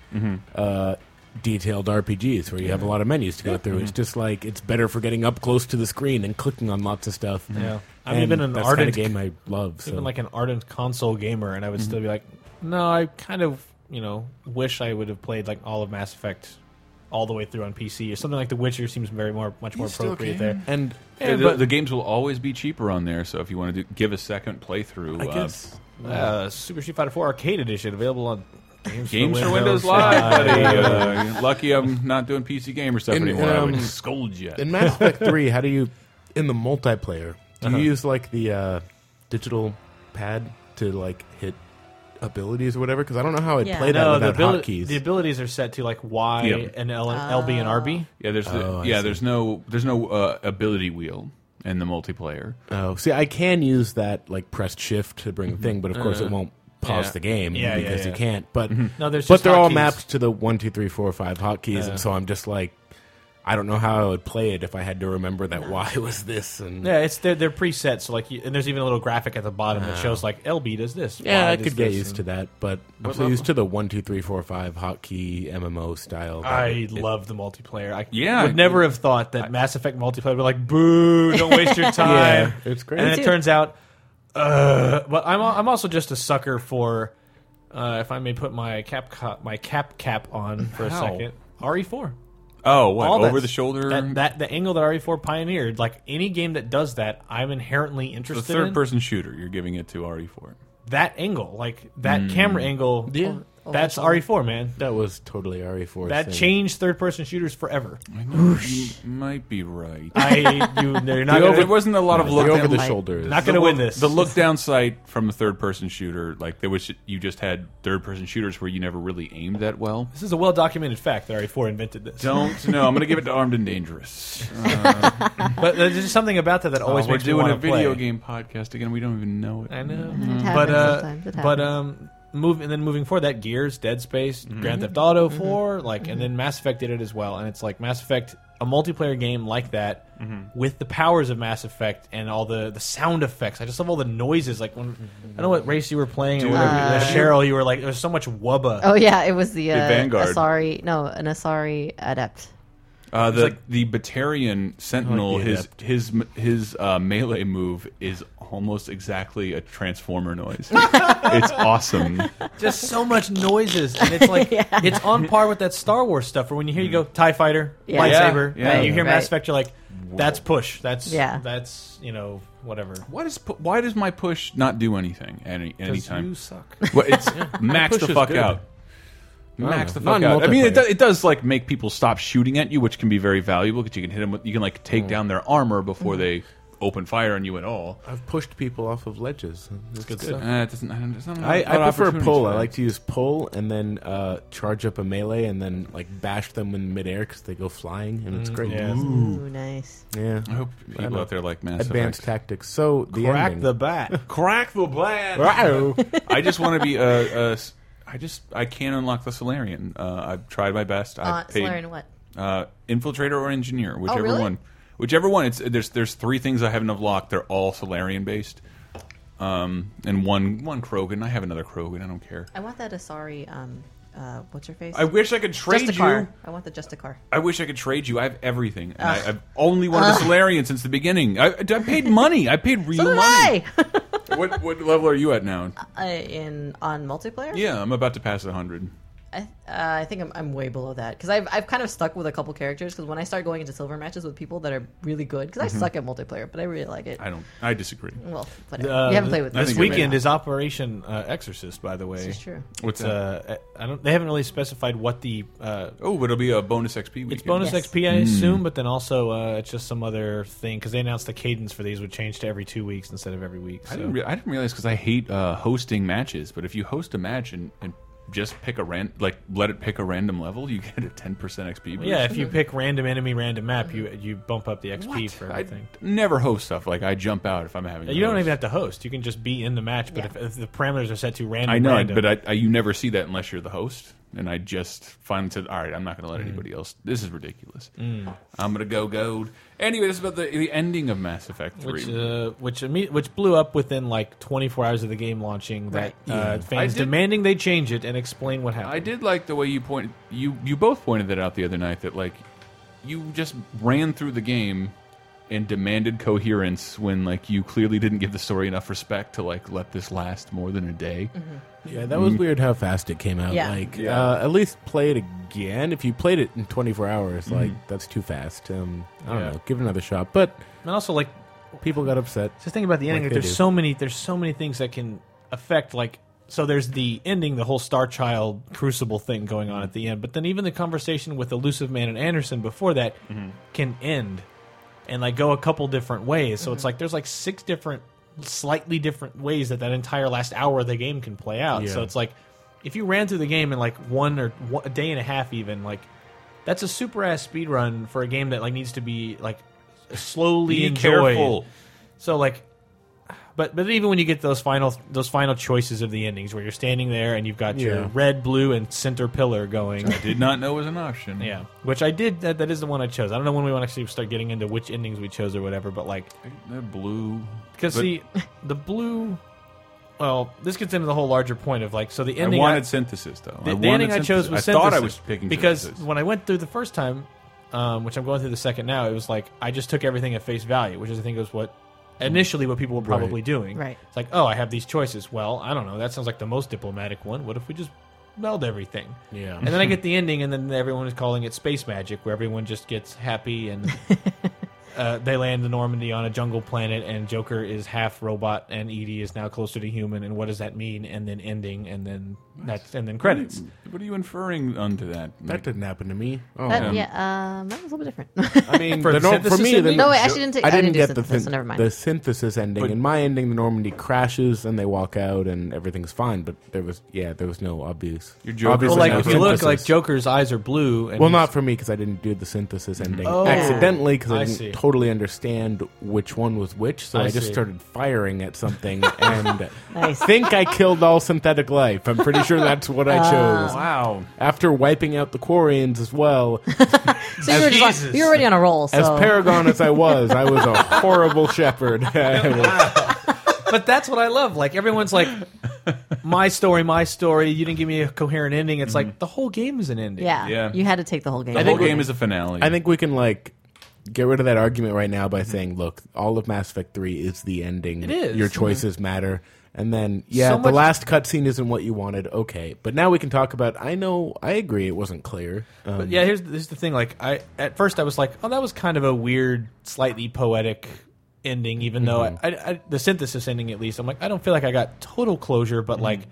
uh, detailed RPGs where you have a lot of menus to go through. It's just like it's better for getting up close to the screen and clicking on lots of stuff.
Yeah. I'm
And
even an
that's the kinda
ardent-
game I love. So.
Even like an ardent console gamer, and I would still be like, no, I kind of, you know, wish I would have played, like, all of Mass Effect all the way through on PC. Or something like The Witcher seems very more, much more
still
appropriate
can.
there.
and
The- the, the games will always be cheaper on there, so if you want to do, give a second playthrough,
I
uh,
guess
Uh, Super Street Fighter 4 Arcade Edition available on Games,
Games for Windows Live, buddy.
[laughs]
Uh, lucky I'm not doing PC gamer stuff
In,
anymore. I
um,
would scold you.
in
[laughs]
Mass Effect Three, how do you in the multiplayer? Do
Uh-huh.
you use like the uh, digital pad to like hit abilities or whatever? Because I don't know how I
Yeah.
played
No,
that
the,
without
abili-
Uh, hotkeys.
the abilities are set to like Y
Yeah.
and L and LB and RB.
Yeah, there's the,
Oh, I
yeah,
see.
there's no there's no uh, ability wheel in the multiplayer.
Oh, see, I can use that like pressed shift to bring the thing, but of course it won't pause
yeah.
the game
Uh-huh. Yeah, yeah,
because
yeah. Mm-hmm.
you can't. But
No, there's
but
just
they're all
hotkeys.
mapped to the one, two, three, four, five hotkeys,
Uh-huh.
and so I'm just like, I don't know how I would play it if I had to remember that why [laughs] was this and
Yeah, it's they're, they're preset. So like, you, and there's even a little graphic at the bottom that shows like LB does this.
Yeah,
Y
I
does
could get
this,
used to
and-
that, but I'm so used to the one, two, three, four, five hotkey MMO style. that
I
it-
love the multiplayer. I
Yeah, I-
would never have thought that Mass Effect multiplayer would be like, boo, don't
[laughs]
waste your time.
Yeah, it's great.
And
Me
it
too.
turns out, uh, but I'm al- I'm also just a sucker for, uh, if I may put my cap co- my cap cap on for a
How?
second, RE4.
Oh, what?
all that-
Over the shoulder?
That, that the angle that RE4 pioneered, like any game that does that, I'm inherently
the
interested
third
in
person shooter. You're giving it to RE4.
that angle, like
Hmm.
that camera angle. oh,
Yeah.
That's RE4, man.
That was totally RE4.
That
thing.
changed third person shooters
[laughs]
forever.
I know you might be right.
I you they're not
The
gonna,
over- there wasn't a lot of
The
look
over
down
the
the,
shoulder.
not going to win this.
the look down sight from the third person shooter. Like there was, you just had third person shooters where you never really aimed that well.
This is a well documented fact that RE4 invented this.
Don't know. I'm going to give it to Armed and Dangerous.
But there's just something about that that always
Oh, we're
makes me
doing
wanna
a video
play.
game podcast again. We don't even know it.
I know.
happens
But uh,
sometimes. It
but
happens.
um, move and then moving forward, that Gears, Dead Space,
Mm-hmm.
Grand Theft Auto 4, like, and then Mass Effect did it as well. And it's like Mass Effect, a multiplayer game like that,
Mm-hmm.
with the powers of Mass Effect and all the the sound effects. I just love all the noises. Like when I don't know what race you were playing, or whatever,
Uh,
Cheryl, you were like, there's so much wubba.
Oh yeah, it was the, uh,
Vanguard.
Asari. No, an Asari adept.
Uh, the the Batarian Sentinel,
yeah,
his his his uh, melee move is almost exactly a transformer noise. [laughs] it's awesome.
Just so
[laughs]
much noises, and it's like it's on par with that Star Wars stuff. Where when you hear you go Tie Fighter,
Yeah.
lightsaber,
Mm. Yeah, yeah.
and you hear
Right.
Mass Effect, you're like, that's push. That's
Yeah.
That's you know whatever.
Why does pu- why does my push not do anything any anytime?
you suck.
Well,
[laughs]
it's max
Push
the
is
fuck
good.
out.
don't
Max the
know.
fuck
Not in
out. I mean, it
multiplayer.
does, it does like make people stop shooting at you, which can be very valuable because you can hit them. With, you can like
Mm.
take down their armor before
Mm-hmm.
they open fire on you at all.
I've pushed people off of ledges. That's good, stuff.
Uh, it doesn't, I, don't- it's not
I,
a lot
I
of
prefer
opportunities
pull.
for
I
that.
like to use pull and then uh, charge up a melee and then like bash them in midair because they go flying and it's great.
Mm, yeah.
Ooh.
Ooh, nice.
Yeah.
I hope people
know.
out there like Mass
Advanced
Effect.
tactics. So the
Crack
ending. [laughs]
the bat.
Crack the blast.
Wow.
I just want to be a. a s- I just I can't unlock the Solarian. Uh, I've tried my best.
Uh,
I've paid,
Solarian, what? Oh,
Uh, infiltrator or engineer, whichever
really?
one. Whichever one. It's there's there's three things I haven't unlocked. They're all Solarian based. Um, and one one Krogan. I have another Krogan. I don't care.
I want that Asari. Um, uh, what's her face?
I wish I could trade
just a
you.
car. I want the just a car.
I wish I could trade you. I have everything. And I, I've only wanted the Solarian since the beginning. I, I paid money. I paid real
So did
money.
I.
What what level are you at now?
[laughs] Uh, in on multiplayer.
Yeah, I'm about to pass hundred.
I, uh, I think I'm, I'm way below that because I've, I've kind of stuck with a couple characters because when I start going into silver matches with people that are really good because I suck at multiplayer but I really like it.
Mm-hmm. I don't. I disagree.
well, whatever.
Uh,
you haven't played with
this
think
me.
you're
weekend
right.
is Operation uh, Exorcist. By the way,
This is true.
What's
It's, uh, I don't. They haven't really specified what the. Uh,
Oh, but it'll be a bonus XP weekend.
it's bonus
Yes.
XP, I
Hmm.
assume, but then also uh, it's just some other thing because they announced the cadence for these would change to every two weeks instead of every week.
I
so.
didn't, re- I didn't realize because I hate uh, hosting matches, but if you host a match and, and just pick a ran like let it pick a random level, you get a ten percent XP. Boost.
yeah, if you pick random enemy, random map, you you bump up the XP for
I
everything.
never host stuff like I jump out if I'm having. a
you don't
host.
even have to host. You can just be in the match, but
Yeah.
if, if the parameters are set to random,
I know,
random,
but I, I you never see that unless you're the host. And I just finally said, "All right, I'm not going to
Mm.
let anybody else. This is ridiculous. I'm going to go gold." Anyway, this is about the, the ending of Mass Effect Three.
which uh, which imme- which blew up within like 24 hours of the game launching. That
Right.
uh, fans
did-
demanding they change it and explain what happened.
I did like the way you pointed you you both pointed that out the other night that like you just ran through the game and demanded coherence when like you clearly didn't give the story enough respect to like let this last more than a day.
Yeah, that was weird how fast it came out.
Yeah.
Like,
Yeah.
Uh, at least play it again. If you played it in 24 hours, like that's too fast. Um, I don't
Yeah.
know. Give it another shot. But
And also, like,
people got upset.
just think about the ending.
Like
Like,
they
there's
do.
so many. There's so many things that can affect. Like, so there's the ending, the whole Star Child Crucible thing going on at the end. But then even the conversation with Elusive Man and Anderson before that
Mm-hmm.
can end and like go a couple different ways.
Mm-hmm.
So it's like there's like six different, slightly different ways that that entire last hour of the game can play out. So
Yeah.
it's like if you ran through the game in like one or one, a day and a half, even like that's a super ass speed run for a game that like needs to be like slowly
Be
enjoyed.
careful.
So like, but but even when you get those final those final choices of the endings, where you're standing there and you've got your
Yeah.
red, blue, and center pillar going,
Did not know was an option.
yeah, which I did. That that is the one I chose. I don't know when we want to actually start getting into which endings we chose or whatever, but like,
That blue.
because
But
see, the blue. Well, this gets into the whole larger point of like, so the
I
ending
wanted synthesis though.
the,
I
the
wanted
ending I chose
synthesis.
was
I thought I was
synthesis,
picking
because
synthesis.
when I went through the first time, um, which I'm going through the second now, it was like I just took everything at face value, which is I think was what
Hmm.
initially what people were probably doing.
Right.
It's like, oh, I have these choices. Well, I don't know. That sounds like the most diplomatic one. What if we just meld everything.
Yeah.
And then I [laughs] get the ending, and then everyone is calling it space magic, where everyone just gets happy [laughs] and uh, they land in Normandy on a jungle planet, and Joker is half robot, and Edie is now closer to human, and what does that mean? And then ending, and then that's and then credits.
What are you inferring onto that?
That didn't happen to me. Oh,
That, yeah, um, that was a little bit different. [laughs]
I mean,
For
the
the
nor- [laughs] for
synthesis
me, the,
ending?
No, wait, I actually didn't take- I didn't do
the,
synthesis, so never mind.
the synthesis ending. In my ending, the Normandy crashes and they walk out and everything's fine. But there was, yeah, there was no obvious.
Your Joker
obvious
was
Well,
Well,
like
no
if you look,
synthesis.
like Joker's eyes are blue. And
Well,
he's-
not for me because I didn't do the synthesis ending
Oh.
accidentally because I,
I
didn't
see.
totally understand which one was which, so I,
I
just
see.
started firing at
[laughs]
something and I
Nice.
think I killed all synthetic life. I'm pretty sure that's what I chose.
Wow.
After wiping out the Quarians as well,
so you were, just
Jesus.
like, you were already on a roll. So [laughs]
as paragon as I was, I was a horrible
[laughs]
shepherd. [laughs] I was-
but that's what I love. Like
[laughs]
everyone's like, my story, my story. You didn't give me a coherent ending. It's like the whole game is an ending.
yeah,
Yeah.
you had to take the whole game.
The whole game is a finale.
I think we can like get rid of that argument right now by saying, look, all of Mass Effect Three is the ending. It
is.
Your
Mm-hmm.
choices matter. And then, yeah,
So
the
much-
last cutscene isn't what you wanted. Okay, but now we can talk about. I know, I agree, it wasn't clear. Um,
But yeah, here's here's the thing. Like I at first I was like, oh, that was kind of a weird, slightly poetic ending. Even though
Mm-hmm.
I, I, I, the synthesis ending, at least, I'm like, I don't feel like I got total closure.
Mm-hmm.
But like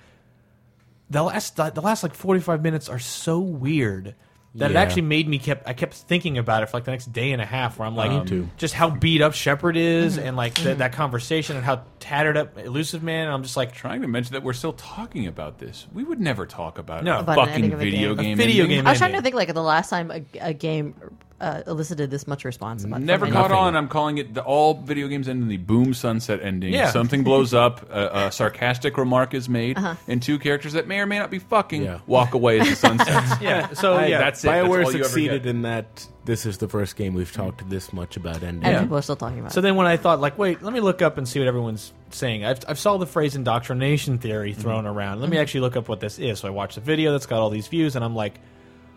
the last the last like 45 minutes are so weird that
Yeah.
it actually made me kept I kept thinking about it for like the next day and a half. Where I'm like,
too.
just how beat up Shepard is, and like th- that conversation, and how tattered up elusive man. And I'm just like.
trying to mention that we're still talking about this. We would never talk about
No.
a
About
an
fucking
ending of a
video
game.
game.
A video
ending.
game
I was trying
ending.
to think like the last time a, a game uh, elicited this much response. About
Never
from
caught
anyone.
on. I'm calling it the all video games end in the boom sunset ending.
Yeah.
Something
[laughs]
blows up, a, a sarcastic remark is made,
Uh-huh.
and two characters that may or may not be fucking
Yeah.
walk away as the
[laughs]
sun sets.
Yeah, so
I-
yeah,
that's it. That's
Bioware
all you ever
succeeded
get.
in that. This is the first game we've talked this much about ending.
And people are still talking about.
So
it.
then when I thought, like, wait, let me look up and see what everyone's saying. I've, I've saw the phrase indoctrination theory
Mm-hmm.
thrown around. Let me actually look up what this is. So I watched the video that's got all these views, and I'm like,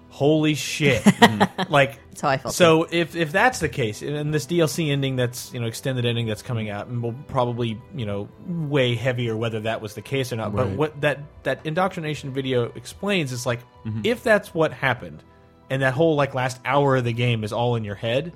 holy
[laughs]
shit! like,
Mm-hmm. That's how I felt.
so if if that's the case, and- and this DLC ending that's you know extended ending that's coming out, and will probably you know weigh heavier whether that was the case or not. But
Right.
what that that indoctrination video explains is like
Mm-hmm.
if that's what happened, and that whole like last hour of the game is all in your head.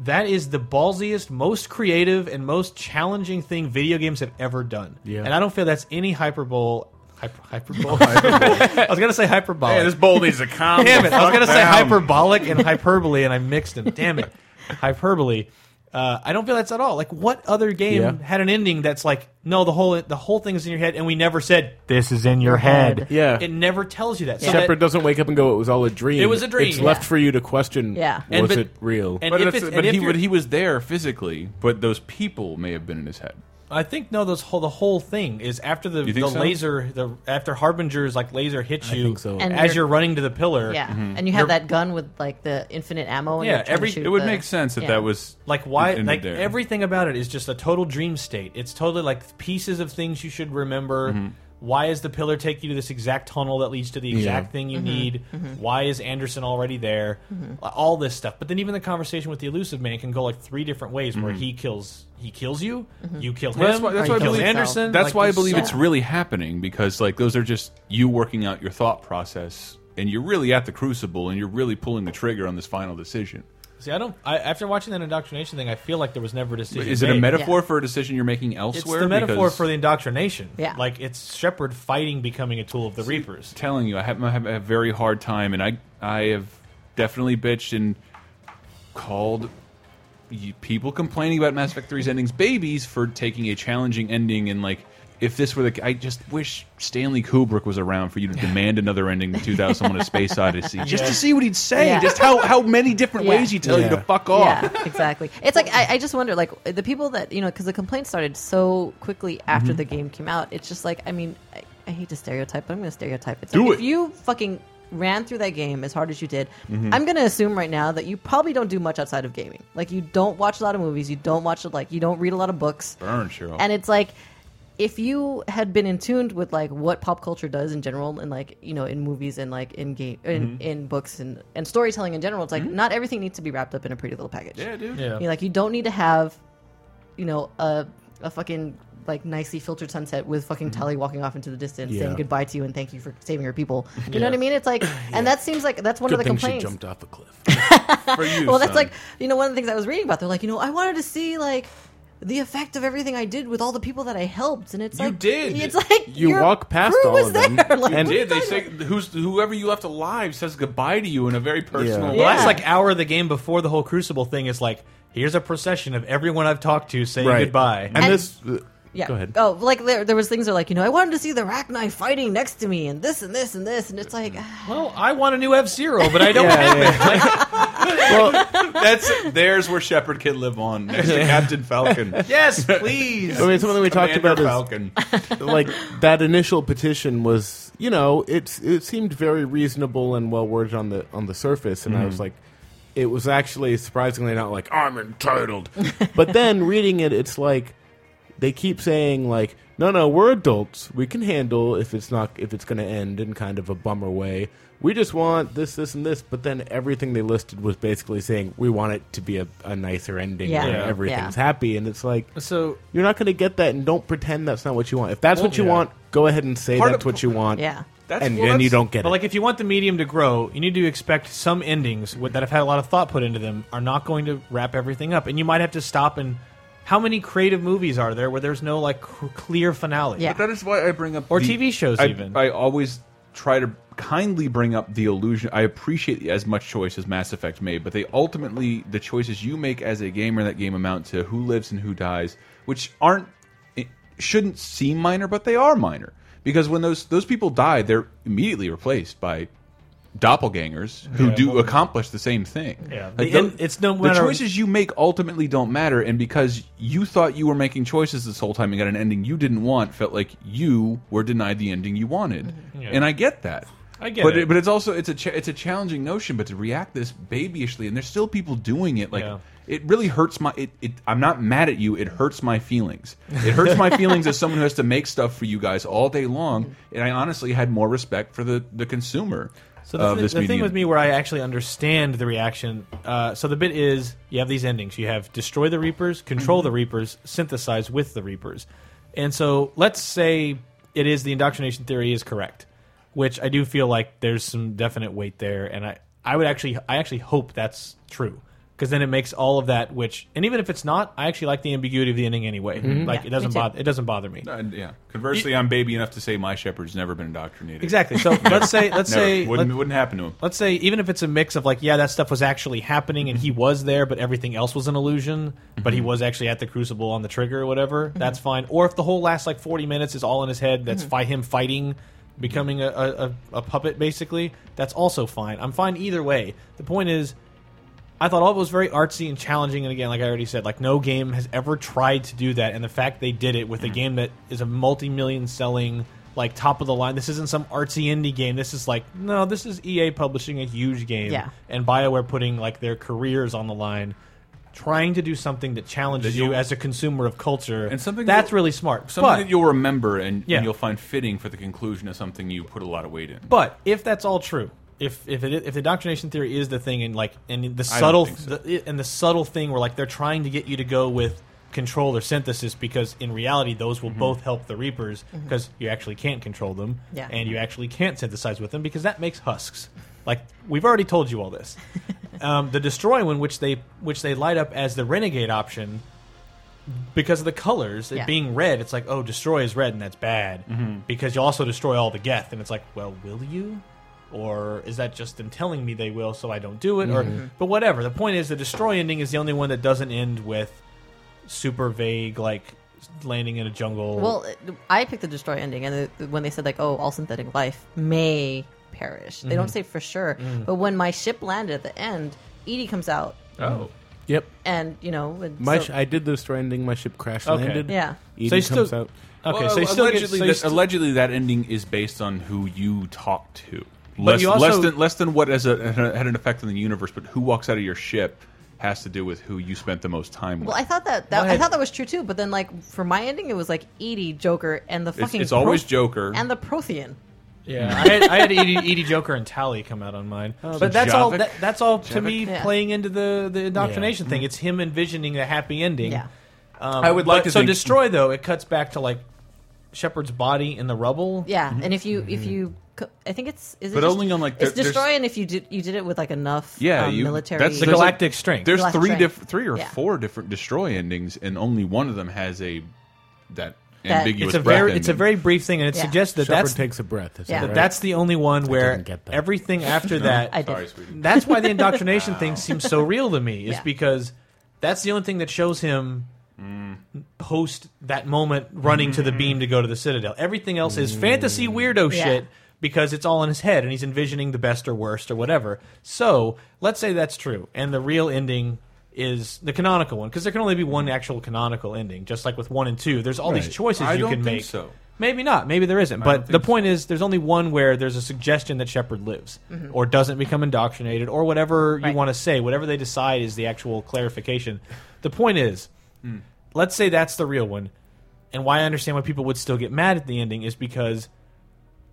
that is the ballsiest, most creative, and most challenging thing video games have ever done.
Yeah.
And I don't feel that's any hyperbole. Hyper, [laughs] hyperbole. I was gonna say hyperbolic.
bowl needs a calm.
Damn it! I was gonna say hyperbolic
[laughs]
and hyperbole, and I mixed them. Damn it, hyperbole. Uh, I don't feel that's at all. Like, what other game
Yeah.
had an ending that's like, no, the whole the whole thing is in your head, and we never said this is in your head.
Yeah.
it never tells you that. So
Shepard
that-
doesn't wake up and go, "It was all a dream."
It was a dream.
It's left
Yeah.
for you to question.
Yeah.
was
And but-
it real?
and
But,
if
it's-
it's-
but
and if
he,
you're-
but he was there physically, but those people may have been in his head.
I think no, those whole the whole thing is after the
You
the
think so?
laser the after Harbinger's like laser hits you
think so.
And
as
you're-
you're running to the pillar.
yeah,
Mm-hmm.
and you have that gun with like the infinite ammo. And
Yeah,
you're trying to
every-
shoot
It would
the-
make sense that
yeah.
that was
Like why?
it ended
Like
there.
everything about it is just a total dream state. It's totally like pieces of things you should remember.
Mm-hmm.
Why is the pillar take you to this exact tunnel that leads to the exact thing
Mm-hmm.
you need? Why is Anderson already there? All this stuff. But then even the conversation with the elusive man can go like three different ways where he kills he kills you,
Mm-hmm.
you kill him,
Mm-hmm. Well, that's why, that's
he
why I
kills
believe
Anderson.
That's
Like,
why I
there's
believe
so
it's really happening because like those are just you working out your thought process, and you're really at the crucible, and you're really pulling the trigger on this final decision.
See, I don't. I, after watching that indoctrination thing, I feel like there was never a decision.
Is it a
made.
metaphor
Yeah.
for a decision you're making
It's
elsewhere?
the metaphor
Because
for the indoctrination.
Yeah.
like it's Shepard fighting becoming a tool of the Reapers.
telling you, I have, I have a very hard time, and I I have definitely bitched and called y- people complaining about Mass Effect 3's endings babies for taking a challenging ending and like. If this were the, I just wish Stanley Kubrick was around
[laughs]
for you to demand another ending to 2001: A Space Odyssey, just to see what he'd say,
Yeah.
just how how many different
Yeah.
ways he tell you
Yeah.
to fuck off.
Yeah, [laughs] exactly. It's like I, I just wonder, like the people that you know, because the complaints started so quickly after
Mm-hmm.
the game came out. It's just like, I mean, I, I hate to stereotype, but I'm going to stereotype. It's
Do
like,
it.
If you fucking ran through that game as hard as you did,
Mm-hmm.
I'm going to assume right now that you probably don't do much outside of gaming. Like you don't watch a lot of movies, you don't watch like you don't read a lot of books.
Burn, Cheryl.
And it's like if you had been in tuned with like what pop culture does in general and like you know in movies and like in game in, in books and, and storytelling in general it's like not everything needs to be wrapped up in a pretty little package
yeah, dude.
Yeah.
you know, like you don't need to have, you know, a a fucking like nicely filtered sunset with fucking Tully walking off into the distance
Yeah.
saying goodbye to you and thank you for saving her people. You know what I mean? It's like, and that seems like that's one
Good
of the
thing
complaints.
she jumped off a cliff.
For you,
well, that's
son.
like you know one of the things I was reading about. They're like, you know, I wanted to see like the effect of everything I did with all the people that I helped, and it's
You
like
did.
It's like
You
your
walk past
crew
all
was
of them.
there. [laughs] Like,
You
what are you
did. They
talking
say
about?
who's whoever you left alive says goodbye to you in a very personal
Yeah.
way.
Well,
Yeah.
that's like hour of the game before the whole Crucible thing is like, here's a procession of everyone I've talked to saying
Right.
goodbye.
And,
And-
this,
yeah.
go ahead.
Oh, like there, there was things that are like you know I wanted to see the Rachni fighting next to me and this and this and this, and it's like
Mm-hmm.
ah,
well, I want a new F Zero,
[laughs]
but I don't have it.
That's there's where Shepherd can live on next to Captain Falcon.
Yes, please.
I mean, something we talked
Commander
about is
Falcon.
like that initial petition was, you know, it's it seemed very reasonable and well worded on the on the surface, and I was like, it was actually surprisingly not like I'm entitled, but then reading it, it's like they keep saying like, no, no, we're adults, we can handle if it's not if it's going to end in kind of a bummer way. We just want this, this, and this, but then everything they listed was basically saying we want it to be a, a nicer ending
Yeah.
where
Yeah.
everything's
Yeah.
happy, and it's like
so
you're not going to get that, and don't pretend that's not what you want. If that's what you
yeah.
want, go ahead and say
Part of-
that's what you want.
yeah.
That's-
and
well,
then you
that's-
don't get
But
it.
like, if you want the medium to grow, you need to expect some endings with, that have had a lot of thought put into them are not going to wrap everything up, and you might have to stop and. How many creative movies are there where there's no like c- clear finale?
Yeah.
That is why I bring up
Or
the-
TV shows
I,
even.
I always try to kindly bring up the illusion. I appreciate as much choice as Mass Effect made, but they ultimately the choices you make as a gamer in that game amount to who lives and who dies, which aren't it shouldn't seem minor, but they are minor because when those those people die, they're immediately replaced by doppelgangers who do accomplish the same thing.
Yeah.
Like,
The- and
tho-
it's no
the
matter-
choices you make ultimately don't matter, and because you thought you were making choices this whole time and got an ending you didn't want, felt like you were denied the ending you wanted.
Mm-hmm.
And I get that.
I get
but
it.
but it's also it's a cha it's a challenging notion, but to react this babyishly, and there's still people doing it. Like
Yeah.
it really hurts my. It, it I'm not mad at you. It hurts my feelings. It hurts
[laughs]
my feelings as someone who has to make stuff for you guys all day long. And I honestly had more respect for the the consumer
So the,
of
thi-
this
the
medium.
thing with me where I actually understand the reaction. Uh, so the bit is you have these endings. You have destroy the Reapers, control
Mm-hmm.
the Reapers, synthesize with the Reapers. And so let's say it is the indoctrination theory is correct, which I do feel like there's some definite weight there. And I, I would actually I actually hope that's true because then it makes all of that which and even if it's not, I actually like the ambiguity of the ending anyway.
Mm-hmm.
Like
Yeah,
it doesn't
me too.
bother it doesn't bother me.
And, yeah. Conversely, I'm baby enough to say my shepherd's never been indoctrinated.
Exactly. So
[laughs]
let's say let's
Never.
say
wouldn't,
let-
wouldn't happen to him.
let's say even if it's a mix of like yeah that stuff was actually happening and he was there but everything else was an illusion but he was actually at the crucible on the trigger or whatever that's fine or if the whole last like 40 minutes is all in his head that's fi- him fighting becoming a, a, a- a puppet basically that's also fine i'm fine either way the point is I thought all of it was very artsy and challenging, and again, like I already said, like no game has ever tried to do that, and the fact they did it with
Mm-hmm.
a game that is a multi-million selling, like top of the line. This isn't some artsy indie game. This is like no, this is EA publishing a huge game,
Yeah.
and Bioware putting like their careers on the line, trying to do something that challenges
That you'll-
you as a consumer of culture,
And something
that's
you'll-
really smart.
Something
But-
that you'll remember and,
Yeah.
and you'll find fitting for the conclusion of something you put a lot of weight in.
But if that's all true, if if it, if the indoctrination theory is the thing, and like and the subtle
think so.
the, and the subtle thing where like they're trying to get you to go with control or synthesis because in reality those
Mm-hmm.
will both help the reapers because you actually can't control them
Yeah.
and you actually can't synthesize with them because that makes husks. Like we've already told you all this. um, the destroy one, which they which they light up as the renegade option. Because of the colors, it
Yeah.
being red, it's like, oh, destroy is red and that's bad.
Mm-hmm.
Because you also destroy all the Geth, and it's like, well, will you? Or is that just them telling me they will so I don't do it?
Mm-hmm.
Or but whatever. The point is the destroy ending is the only one that doesn't end with super vague like landing in a jungle.
Well, it- I picked the destroy ending, and the, when they said like, "Oh, all synthetic life may perish," they
Mm-hmm.
don't say for sure. But when my ship landed at the end, Edie comes out,
Oh.
yep.
and you know, and
My
so-
sh- I did the destroy ending. My ship crash
Okay.
landed.
Yeah.
Edie
So you
comes
still-
out.
okay,
Well,
so you still get,
allegedly,
so you
that,
still-
allegedly that ending is based on who you talk to.
But
Less,
you also-
less than less than what as a, had an effect on the universe, but who walks out of your ship has to do with who you spent the most time with.
Well, I thought that, that I
What?
thought that was true too, but then like for my ending, it was like Edie, Joker, and the fucking
it's always
Pro-
Joker.
and the Prothean.
[laughs]
Yeah, I had, I had Edie, Edie Joker and Tally come out on mine, Oh, but that's all.
Javik?
That, that's all to me
Yeah.
playing into the the indoctrination thing. It's him envisioning a happy ending.
Yeah.
Um,
I would like
but-
to
so
think-
destroy though. It cuts back to like Shepard's body in the rubble.
Yeah, and if you if you, co- I think it's is it
But
just-
only on, like,
it's
there- there's-
destroy, and if you did you did it with like enough
Yeah,
um,
you-
military.
that's
the
There's like-
Galactic Strength.
There's
Black
three
Train.
different, three or
Yeah.
four different destroy endings, and only one of them has a that,
That-
ambiguous.
it's a
breath
very it's a
ending.
very brief thing, and it
Yeah.
suggests that
Shepard
that's
takes a breath. Is that
Yeah.
that
right?
that's the only one where
didn't get that.
everything
[laughs]
after that
I did.
Sorry, sweetie.
That's why
[laughs]
the indoctrination thing seems so real to me, is
Yeah.
because that's the only thing that shows him
Mm.
post that moment running to the
Mm-hmm.
beam to go to the Citadel. Everything else is
Mm.
fantasy weirdo
Yeah.
shit because it's all in his head and he's envisioning the best or worst or whatever. So let's say that's true, and the real ending is the canonical one because there can only be one actual canonical ending, just like with one and two. There's all these
Mm. Right.
choices
I
you
don't
can
think
make.
so.
Maybe not. Maybe there isn't.
don't
But the
think
point is, there's only one where there's a suggestion that Shepard lives or doesn't become indoctrinated or whatever
Right.
you want to say. Whatever they decide is the actual clarification. The point is,
Hmm.
let's say that's the real one. And why I understand why people would still get mad at the ending is because,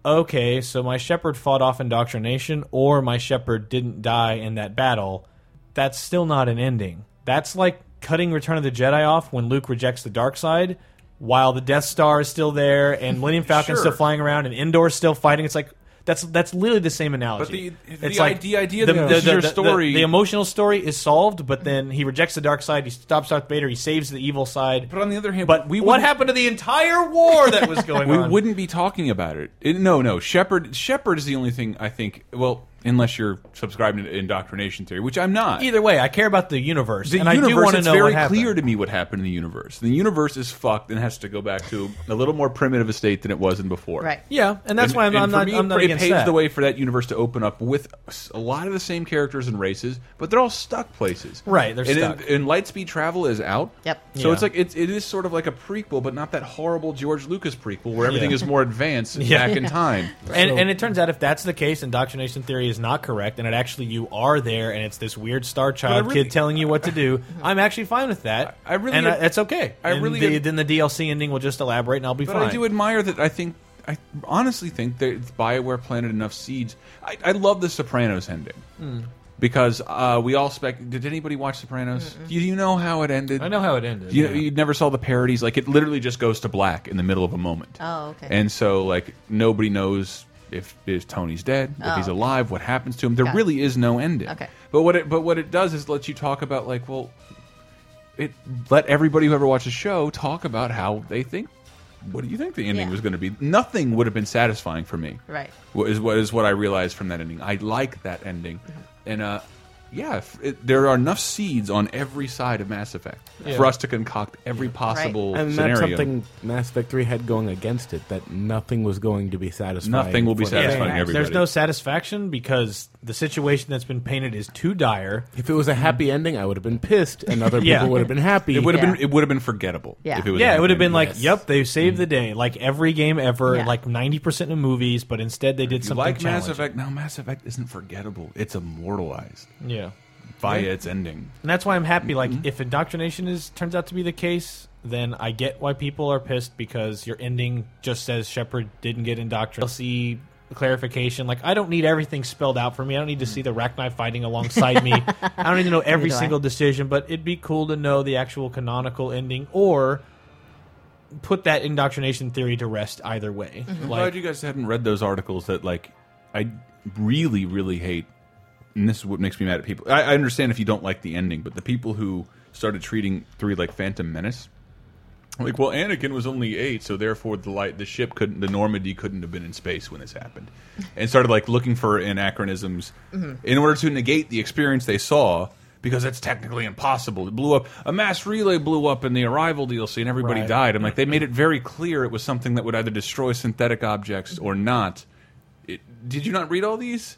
okay, so my Shepard fought off indoctrination or my Shepard didn't die in that battle. That's still not an ending. That's like cutting Return of the Jedi off when Luke rejects the dark side while the Death Star is still there and Millennium Falcon's
Sure.
still flying around and Endor's still fighting. It's like that's that's literally the same analogy.
But the-
it's
the
like
idea- idea that this is your story-
The, emotional story is solved, but then he rejects the dark side. He stops Darth Vader. He saves the evil side.
But on the other hand,
but
we
what
wouldn't-
happened to the entire war that [laughs] was going
we
on?
wouldn't be talking about it. It- no, no. Shepherd Shepherd is the only thing I think. Well, unless you're subscribing to indoctrination theory, which I'm not.
Either way, I care about the universe,
the
and I do
universe
want to
it's
know
very
what happened.
clear to me what happened in the universe. The universe is fucked and has to go back to a little more primitive a state than it was in before.
Right.
Yeah, and that's
And-
why I'm,
and
I'm
for
not.
me,
I'm not
it
against
paves
that.
the way for that universe to open up with s- a lot of the same characters and races, but they're all stuck places.
Right, they're
and in-
stuck.
and Lightspeed Travel is out.
Yep.
So it's
Yeah.
like it's, it is sort of like a prequel, but not that horrible George Lucas prequel where everything
Yeah.
is more advanced and
[laughs] Yeah.
back in time.
And, and it turns out if that's the case, indoctrination theory is not correct, and it actually you are there, and it's this weird star child
really-
kid telling you what
[laughs]
to do. I'm actually fine with that.
I- I really
and
ad-
that's okay.
I
And
really
the,
ad-
then the DLC ending will just elaborate, and I'll be
But
fine.
I do admire that. I think I honestly think that Bioware planted enough seeds. I, I love the Sopranos ending
Hmm.
because uh, we all spec. Did anybody watch Sopranos? Do you know how it ended?
I know how it ended.
You, you never saw the parodies. Like it literally just goes to black in the middle of a moment.
Oh, okay.
And so like nobody knows if if Tony's dead, if he's alive, what happens to him. There
Oh. Got it.
really is no ending.
Okay.
But what it but what it does is lets you talk about like well, it let everybody who ever watched the show talk about how they think. What do you think the ending
Yeah.
was going to be? Nothing would have been satisfying for me.
Right.
What is what is what I realized from that ending. I like that ending,
Mm-hmm.
and uh, yeah, if it, there are enough seeds on every side of Mass Effect for us to concoct every possible
and
scenario.
that's something Mass Effect 3 had going against it that nothing was going to be satisfying.
Nothing will be
for the
satisfying
fans.
everybody.
There's no satisfaction because the situation that's been painted is too dire.
If it was a happy ending, I would have been pissed, and other
Yeah.
people would have been happy.
Mhm. It would have
Yeah.
been it would have been forgettable.
Yeah.
if it was
Yeah, it would have
happening.
been like,
Yes.
"Yep, they saved
Mm.
the day," like every game ever,
Yeah.
like ninety percent of movies. But instead, they did
You
something
like Mass
challenging.
Effect now. Mass Effect isn't forgettable. It's immortalized
Yeah,
via its ending.
and that's why I'm happy. Like,
Mm-hmm.
if indoctrination is turns out to be the case, then I get why people are pissed because your ending just says Shepard didn't get indoctrinated. I'll see clarification. Like, I don't need everything spelled out for me. I don't need to see the rack knife fighting alongside
[laughs]
me. I don't need to know every
Mm. do I.
single decision. But it'd be cool to know the actual canonical ending or. Put that indoctrination theory to rest either way.
I'm glad you guys hadn't read those articles that like I really really hate. And this is what makes me mad at people. I, I understand if you don't like the ending, but the people who started treating three like Phantom Menace, like well, Anakin was only eight, so therefore the light the ship couldn't the Normandy couldn't have been in space when this happened, and started like looking for anachronisms
Mm-hmm.
in order to negate the experience they saw. Because that's technically impossible. It blew up. A mass relay blew up in the arrival DLC, and everybody died
Right.
died. I'm like, they made it very clear it was something that would either destroy synthetic objects or not. It, did you not read all these?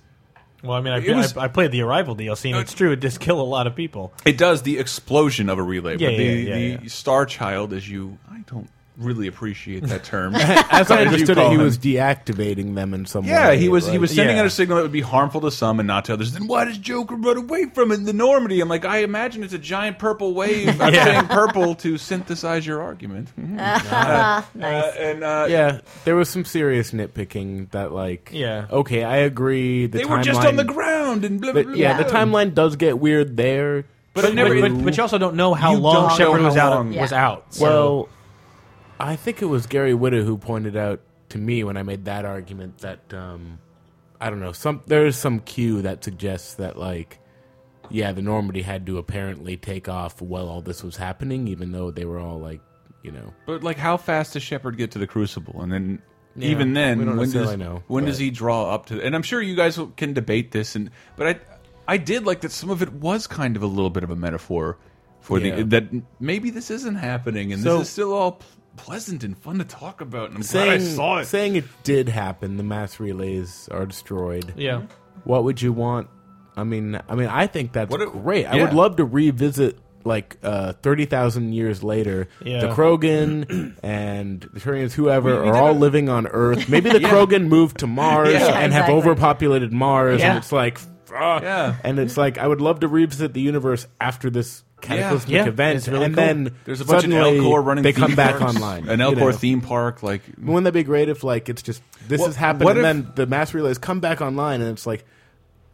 Well, I mean, I,
It was-
I, I played the Arrival DLC, and it's true. It does kill a lot of people.
It does the explosion of a relay,
Yeah,
but the,
yeah, yeah,
the
yeah.
star child, as you, I don't really appreciate that term. [laughs]
[laughs] As I
you
understood
call
it, he
him.
was deactivating them in some
yeah,
way.
he was he
like-
was sending
Yeah.
out a signal that would be harmful to some and not to others. Then why does Joker run away from it in the Normandy? I'm like, I imagine it's a giant purple wave.
[laughs]
I'm saying purple to synthesize your argument. Mhm. Uh, uh, and uh,
Yeah, there was some serious nitpicking that, like,
Yeah.
okay, I agree. The
they were just on
timeline-
the ground and blah blah
the-
blah.
yeah, the
blah.
timeline does get weird there.
But, but,
never-
but, but you also don't know how
You
long
don't
Shepard
know
was
how
out.
long.
Was
Yeah.
out. So.
Well, I think it was Gary Witta who pointed out to me when I made that argument that um, I don't know some there is some cue that suggests that like yeah the Normandy had to apparently take off while all this was happening, even though they were all like you know
But like, how fast does Shepard get to the Crucible? And then,
Yeah,
even then,
we don't
when
necessarily
does
know,
when
but-
does he draw up to? And I'm sure you guys will- can debate this. And but I, I did like that. Some of it was kind of a little bit of a metaphor for
Yeah.
the that maybe this isn't happening, and
So-
this is still all p- pleasant and fun to talk about. And I'm glad I
saying
saw it.
saying it did happen. The mass relays are destroyed.
yeah.
What would you want? I mean, I mean, I think that's
What if-
great. I
yeah.
would love to revisit like uh, thirty thousand years later.
Yeah.
The Krogan and the Turians, whoever,
We- we
are
did
all
it.
living on Earth. Maybe
[laughs]
the Krogan moved to Mars
Yeah.
and have
Exactly.
overpopulated Mars,
Yeah.
and it's like, ah.
Yeah.
and it's like I would love to revisit the universe after this cataclysmic
Yeah.
event,
It's really
and
cool.
then
There's a bunch
suddenly
of Elcor running.
They
theme
come back
parks,
online.
An
you
Elcor
know?
theme park, like
Wouldn't that be great if like it's just this
What-
has happened
what
and
if-
then the mass relays come back online and it's like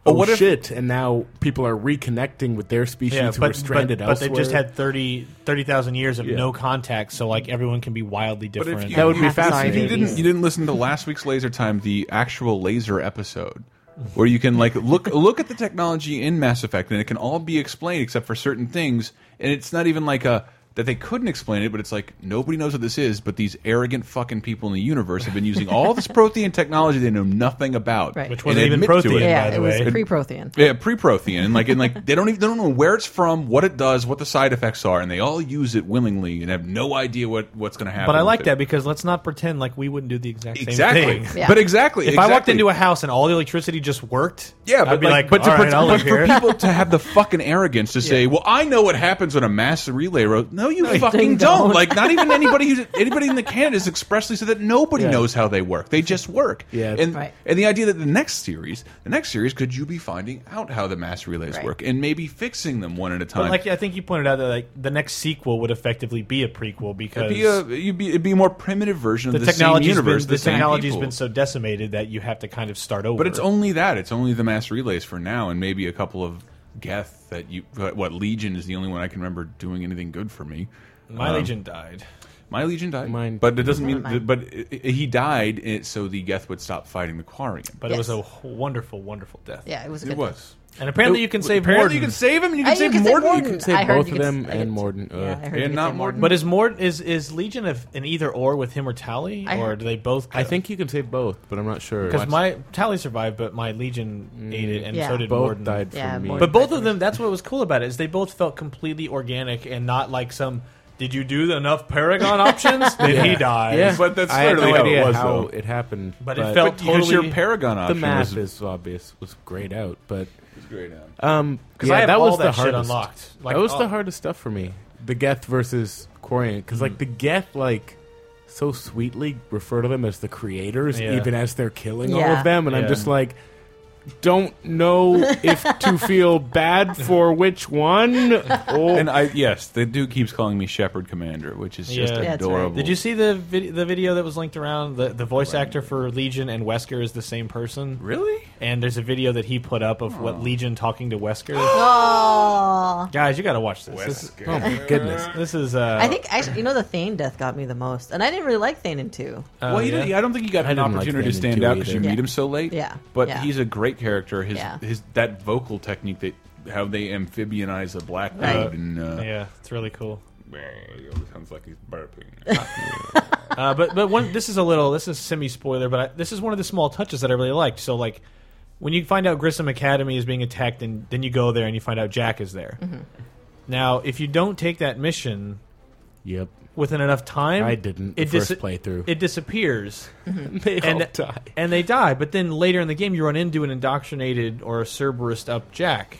oh
what if-
shit and now people are reconnecting with their species
Yeah,
who
but,
were stranded
but, but
elsewhere.
they've just had 30 30,000 years of no contact, so like everyone can be wildly
if
different.
you-
that would be
Half the
If you
fascinating.
didn't, you didn't listen to last week's Laser Time, the actual laser episode, where you can like look look at the technology in Mass Effect, and it can all be explained except for certain things. And it's not even like a that they couldn't explain it, but it's like nobody knows what this is. But these arrogant fucking people in the universe have been using all this Prothean technology they know nothing about,
Right. Which
and
wasn't even
admit to it.
Prothean, by
yeah,
the
it was
way.
pre-Prothean.
Yeah, pre-Prothean, and like, and like, they don't even they don't know where it's from, what it does, what the side effects are, and they all use it willingly and have no idea what what's going to happen.
but I like
with it.
that because let's not pretend like we wouldn't do the exact same
Exactly,
thing.
Yeah.
but exactly.
If I walked into a house and all the electricity just worked,
Yeah,
I'd
but
be
like,
like,
but, to,
"All right,
but-
I'll
but
live
for
here."
people to have the fucking arrogance to say, "Well, I know what happens when a mass relay ro No, you fucking
they
don't.
don't.
Like, not even anybody
[laughs]
who's anybody in the canon is expressly said that nobody
Yeah.
knows how they work. They just
[laughs]
work.
Yeah.
and
Right.
and the idea that the next series, the next series, could you be finding out how the mass relays
Right.
work and maybe fixing them one at a time?
But like I think you pointed out that like the next sequel would effectively be a prequel because
it'd be a you'd be, it'd be a more primitive version
the
of the same
technology's
universe.
been, the,
same
technology's
people.
been so decimated that you have to kind of start over.
But it's only that. It's only the mass relays for now, and maybe a couple of Geth that you. What Legion is the only one I can remember doing anything good for me.
my
Um,
legion died.
My Legion died.
Mine-
but it doesn't mean.
Mine.
But i i- he died, i- so the Geth would stop fighting the Quarian.
But it was
Yes.
a wh- wonderful, wonderful death.
Yeah, it was a
It
good.
was.
And apparently you can save
Apparently, you
Morden.
can save him, and you can
Uh, you
save
can say
Morden.
Morden.
save
I heard
both
you
of
could-
them
I
and
could-
Morden, uh,
yeah, I heard you
and
could
not
say
Morden.
But is Morden is is Legion of an either or with him or Tally,
I
or
heard-
do they both?
I think you can save both, but I'm not sure.
because my Tally survived, but my Legion ate it, and
Mm. Yeah.
so did
both
Morden.
died
Yeah,
from me.
Morden.
But both of them, that's what was cool about it is they both felt completely organic and not like some. Did you do enough
[laughs]
Paragon options? Then he dies.
yeah,
But that's
I had
literally
no
how it
idea
was,
how
though.
it happened.
But it felt
Because
totally.
your Paragon
the
option
map
was,
is obvious was grayed out, but
was great. Adam.
um,
'Cause I
yeah,
have
that
all
was the
that shit
hardest.
unlocked. Like, oh,
that was the
all-
hardest stuff for me. The Geth versus Quarian, because like the Geth, like so sweetly refer to them as the creators,
Yeah.
even as they're killing all
Yeah.
of them, and I'm
Yeah.
just like, don't know if to feel bad for which one.
Oh.
Oh. Or
And I yes, the dude keeps calling me Shepherd Commander, which is just
Yeah. That's
right.
adorable.
Did you see the vid- the video that was linked around? The the voice actor for Legion and Wesker is the same person.
really?
And there's a video that he put up of what Legion talking to Wesker.
Oh,
Guys, you got to watch this. This,
oh my goodness.
this is uh,
I think actually, you know, the Thane death got me the most, and I didn't really like Thane in two.
well, he didn't, I don't think he got
Uh, I
an
didn't like
opportunity to
Thanos
stand
too
out because you
either.
meet
Yeah.
him so late.
Yeah.
but
Yeah.
he's a great character. His
Yeah.
his that vocal technique that how they amphibianize a black dude
Right.
and uh,
yeah, it's really cool.
it sounds like he's burping.
Uh, but but one, this is a little this is semi spoiler, but I, this is one of the small touches that I really liked. So like when you find out Grissom Academy is being attacked, and then you go there and you find out Jack is there. Now, if you don't take that mission
Yep.
within enough time,
I didn't the first playthrough.
It disappears,
They
and and they die. But then later in the game, you run into an indoctrinated or a Cerberus up Jack,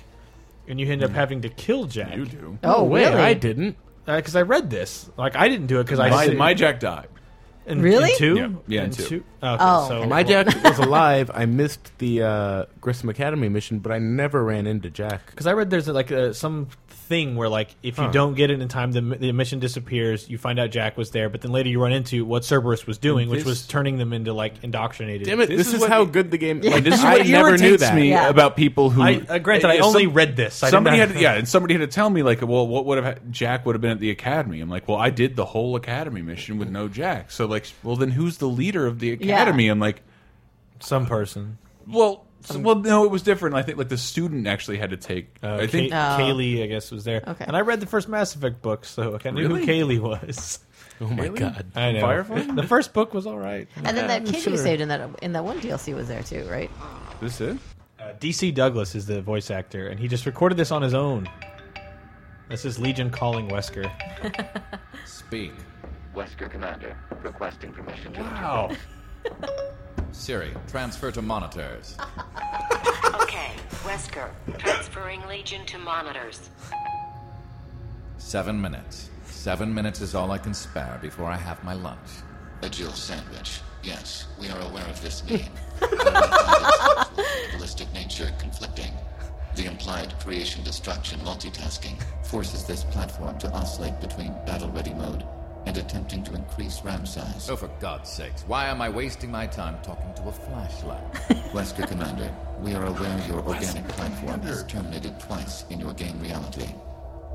and you end up having to kill Jack.
Mm-hmm.
Uh,
You do.
Oh,
wait,
really?
I didn't.
because I read this. Like I didn't do it because I
My,
said-
my Jack died.
In,
Really?
In two?
Yeah. Yeah, in two.
Okay,
Oh.
so
My Jack was alive. I missed the uh, Grissom Academy mission, but I never ran into Jack.
Because I read there's like a, some thing where like if you don't get it in time, the, the mission disappears. You find out Jack was there, but then later you run into what Cerberus was doing, which
This-
was turning them into like indoctrinated.
Damn it!
This
This,
is
is,
what
how
it-
good the game.
Like,
Like,
this is
I
what
never knew
irritates
that.
me
Yeah.
about people who.
I uh, granted I
If
only
some-
read this. I didn't
somebody
have-
had yeah, and somebody had to tell me like, well, what would have ha- Jack would have been at the academy? I'm like, well, I did the whole academy mission with no Jack. So like, well, then who's the leader of the
Yeah.
academy? I'm like,
[laughs] some person.
well, s- well, no, it was different. I think like the student actually had to take.
Uh,
I think
Kay- Kaylee, I guess, was there.
Oh. Okay.
And I read the first Mass Effect book, so I knew
Really?
who Kaylee was. [laughs]
Oh my god!
I know.
Firefly?
The first book was all right.
And then that
I'm
kid
sure.
you saved in that in that one DLC was there too, right?
this is.
Uh, DC Douglas is the voice actor, and he just recorded this on his own. This is Legion calling Wesker.
Speak.
Wesker Commander, requesting permission to
Wow.
Siri, transfer to monitors.
Okay, Wesker, transferring Legion to monitors.
Seven minutes. Seven minutes is all I can spare before I have my lunch.
A Jill sandwich. Yes, we are aware of this name.
[laughs]
However, its ballistic nature conflicting. The implied creation destruction multitasking forces this platform to oscillate between battle ready mode and attempting to increase RAM size.
So, Oh, for God's sakes, why am I wasting my time talking to a flashlight?
Wesker Commander, we are aware your organic platform has terminated twice in your game reality.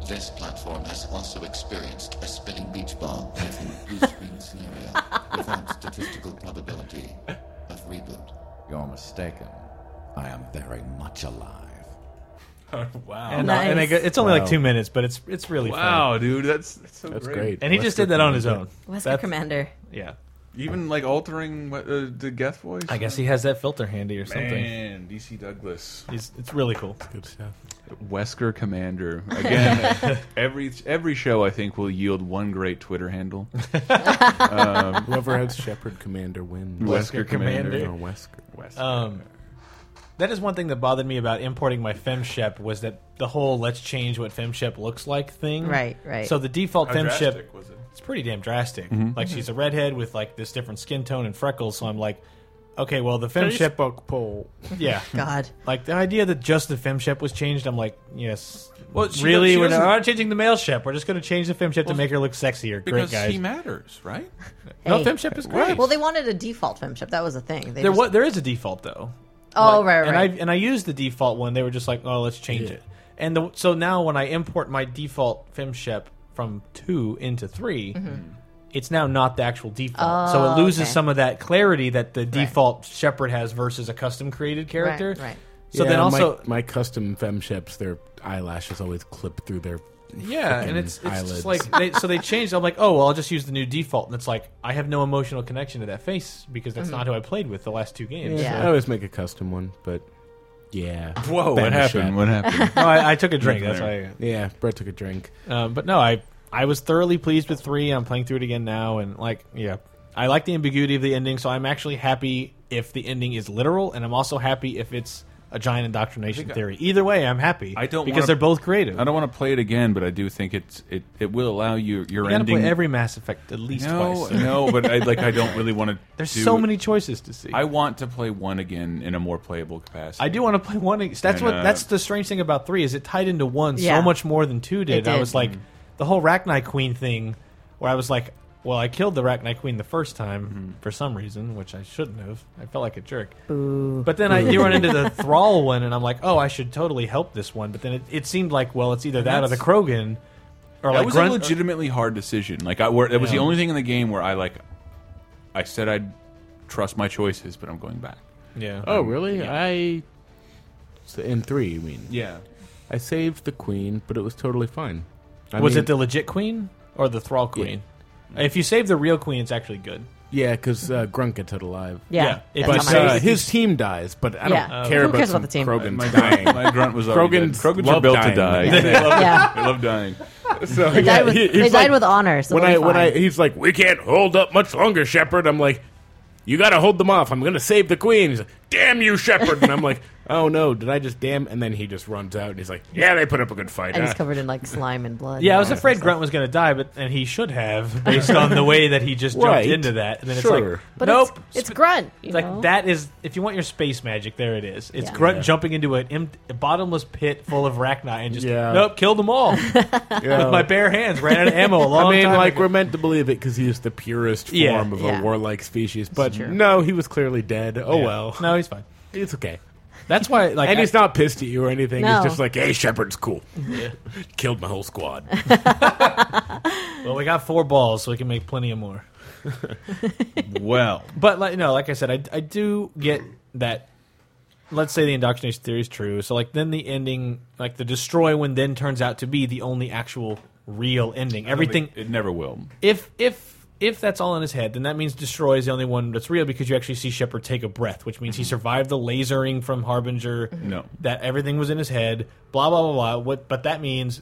This platform has also experienced a spinning beach ball as an blue-screen scenario without statistical probability of reboot.
You're mistaken. I am very much alive.
and,
Nice.
uh, and I go- it's only
Wow.
like two minutes, but it's it's really fun.
Wow, dude, that's that's so
That's
great.
great.
And he just did that on his own.
Wesker
That's-
Commander.
Yeah.
Even like altering what, uh, the Geth voice.
I guess he has that filter handy or something.
Man, DC Douglas,
He's, it's really cool.
Good stuff.
Wesker Commander. [laughs] Again, every every show I think will yield one great Twitter handle.
Whoever has Shepherd Commander wins.
Wesker Commander.
or Wesker.
Wesker.
Um, that is one thing that bothered me about importing my FemShep was that the whole "let's change what FemShep looks like" thing.
Right, right.
So the default FemShep
was it?
it's pretty damn drastic.
Mm-hmm.
Like she's a redhead with like this different skin tone and freckles. So I'm like, okay, well the FemShep book poll, [laughs] yeah.
God.
Like the idea that just the FemShep was changed, I'm like, yes.
Well, she-
really,
she
we're not,
doesn't-
we're not changing the male shep. We're just going to change the FemShep to make her look sexier. Great
Because
guys.
he matters, right?
no,
Hey.
FemShep is great.
Well, they wanted a default femship. That was a thing. They
there,
just-
wa- there is a default though.
Oh, right,
and
right.
I and I used the default one. They were just like, oh, let's change it. And the, so now when I import my default FemShep from two into 3 it's now not the actual default. so it
Mm-hmm. Oh,
loses
okay.
some of that clarity that the default Shepherd has versus a custom created character.
Right, right.
So
Yeah,
then
my-
also,
my, custom femships, their eyelashes always clip through their.
yeah,
fucking
and it's it's
eyelids.
just like they, so they changed. I'm like, oh well, I'll just use the new default, and it's like I have no emotional connection to that face because that's not who I played with the last two games.
Mm-hmm. Yeah.
I always make a custom one, but yeah.
Whoa, what
Femshep.
happened? What happened? [laughs]
No, I, I took [laughs] a drink. that's why. I,
Yeah, Brett took a drink.
Um, but no, I I was thoroughly pleased with three. I'm playing through it again now, and like, yeah, I like the ambiguity of the ending. So I'm actually happy if the ending is literal, and I'm also happy if it's a giant indoctrination theory. Either way, I'm happy.
I don't
because
wanna-
they're both creative.
I don't want to play it again, but I do think it's it, it will allow you your
You gotta
ending.
play every Mass Effect at least
no,
twice.
no, but I like I don't really want to.
[laughs] There's
do-
so many choices to see.
I want to play one again in a more playable capacity.
I do want to play one. That's
And,
what.
uh,
that's the strange thing about three is it tied into one
Yeah.
so much more than two did.
It
I
did.
was like, the whole Rachni Queen thing, where I was like, well, I killed the Rachni Queen the first time
Mm-hmm.
for some reason, which I shouldn't have. I felt like a jerk. But then I
[laughs]
you run into the Thrall one, and I'm like, oh, I should totally help this one. But then it, it seemed like, well, it's either that or the
that's-
Krogan, or
That
like
was
Grunt.
a legitimately hard decision. Like I, where, that was the
Yeah.
only thing in the game where I like. I said I'd trust my choices, but I'm going back.
uh, yeah.
Oh, really? I. So in three, you mean?
Yeah,
I saved the queen, but it was totally fine. I
was
mean,
it the legit Queen or the Thrall Queen? If you save the real Queen, it's actually good.
Yeah, because uh, Grunt gets it alive.
Yeah,
Yeah.
it's
that's
But
not
how
my-
uh,
mine is.
his team dies, but I don't
Yeah.
care
Who
about,
cares
some
about the team?
Krogan
my
dying.
grunt, [laughs] my grunt was already dead.
Krogans
Krogans are
love
built to
dying.
die.
Yeah.
They, love,
Yeah.
they love dying. So
They died with,
he-
they
he's
died
like-
with honor. So
when
they'll
I
be
when I
fine.
he's like, we can't hold up much longer, Shepard. I'm like, you got to hold them off. I'm gonna save the queen. He's like, damn you, Shepard. And I'm like, oh no, did I just damn? And then he just runs out and he's like, yeah, they put up a good fight.
and he's
huh?"
covered in like slime and blood.
Yeah, I was afraid Grunt was going to die, but and he should have based on the way that he just jumped
Right.
into that. And then it's
Sure.
like,
But
nope.
it's, it's grunt. You
It's like
know?
that is if you want your space magic, there it is. It's
Yeah.
Grunt jumping into an em- a bottomless pit full of arachnite and just
Yeah.
nope, killed them [laughs] all with my bare hands. Ran out of ammo. A long
I mean,
time
like
ago.
we're meant to believe it because he is the purest form
Yeah.
of
Yeah.
a warlike species. But
true.
no, he was clearly dead. Oh
Yeah.
well,
no, he's fine.
it's okay.
That's why, like,
And
I-
he's not pissed at you or anything.
No.
He's just like, "Hey, Shepard's cool. [laughs] Killed my whole squad."
well, we got four balls, so we can make plenty of more.
Well,
But like, no, like I said, I, I do get that. Let's say the indoctrination theory is true. So like then the ending, like the destroy one, then turns out to be the only actual real ending. Everything
It never will.
if if if that's all in his head, then that means destroy is the only one that's real because you actually see Shepard take a breath, which means he survived the lasering from Harbinger.
Mm-hmm. No.
that everything was in his head. Blah blah blah blah. What? But that means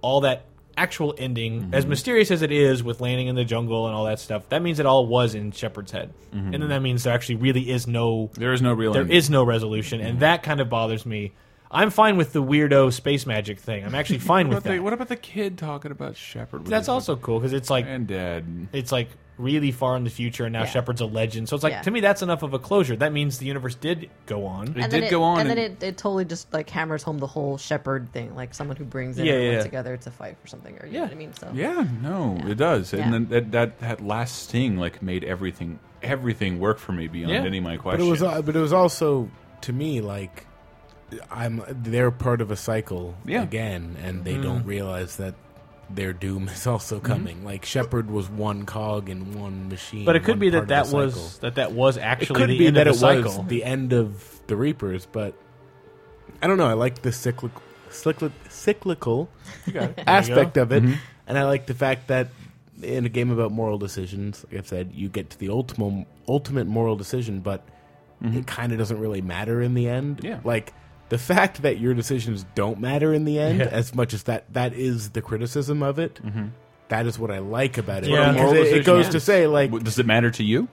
all that actual ending,
Mm-hmm.
as mysterious as it is, with landing in the jungle and all that stuff, that means it all was in Shepard's head,
Mm-hmm.
and then that means there actually really is no
There is no real.
there
ending.
is no resolution,
Mm-hmm.
and that kind of bothers me. I'm fine with the weirdo space magic thing. I'm actually
[laughs]
fine
What,
with
the,
that.
what about the kid talking about Shepard? with
That's
his
also cool because it's like
and dad.
it's like really far in the future and now
Yeah.
Shepard's a legend. So it's like
Yeah.
to me that's enough of a closure. That means the universe did go on.
It
and then
did
it,
go on,
and, then it, it totally just like hammers home the whole shepherd thing, like someone who brings in
Yeah,
everyone
yeah.
together to fight for something, or you know what I mean. So
Yeah, no, it does,
Yeah.
and then that, that that last sting like made everything everything work for me beyond
Yeah.
any of my
but it
questions.
was, uh, but it was also to me like, I'm they're part of a cycle
Yeah.
again, and they
Mm.
don't realize that their doom [laughs] is also
Mm-hmm.
coming. Like Shepard was one cog in one machine,
But it could
one
be
part of
that that
the cycle.
was that that was
It
actually
could
the
be
end
that
of
it
the cycle.
was the end of the Reapers, but I don't know. I like the cyclic, cyclic, cyclical aspect of it,
Mm-hmm.
and I like the fact that in a game about moral decisions, like I've said, you get to the ultimate ultimate moral decision, but
Mm-hmm.
it kind of doesn't really matter in the end.
Yeah.
like the fact that your decisions don't matter in the end, as much as that that is the criticism of it. That is what I like about it.
Mm-hmm. Yeah.
because
Moral
it, it
decision
goes
is-
to say like
W- does it matter to you?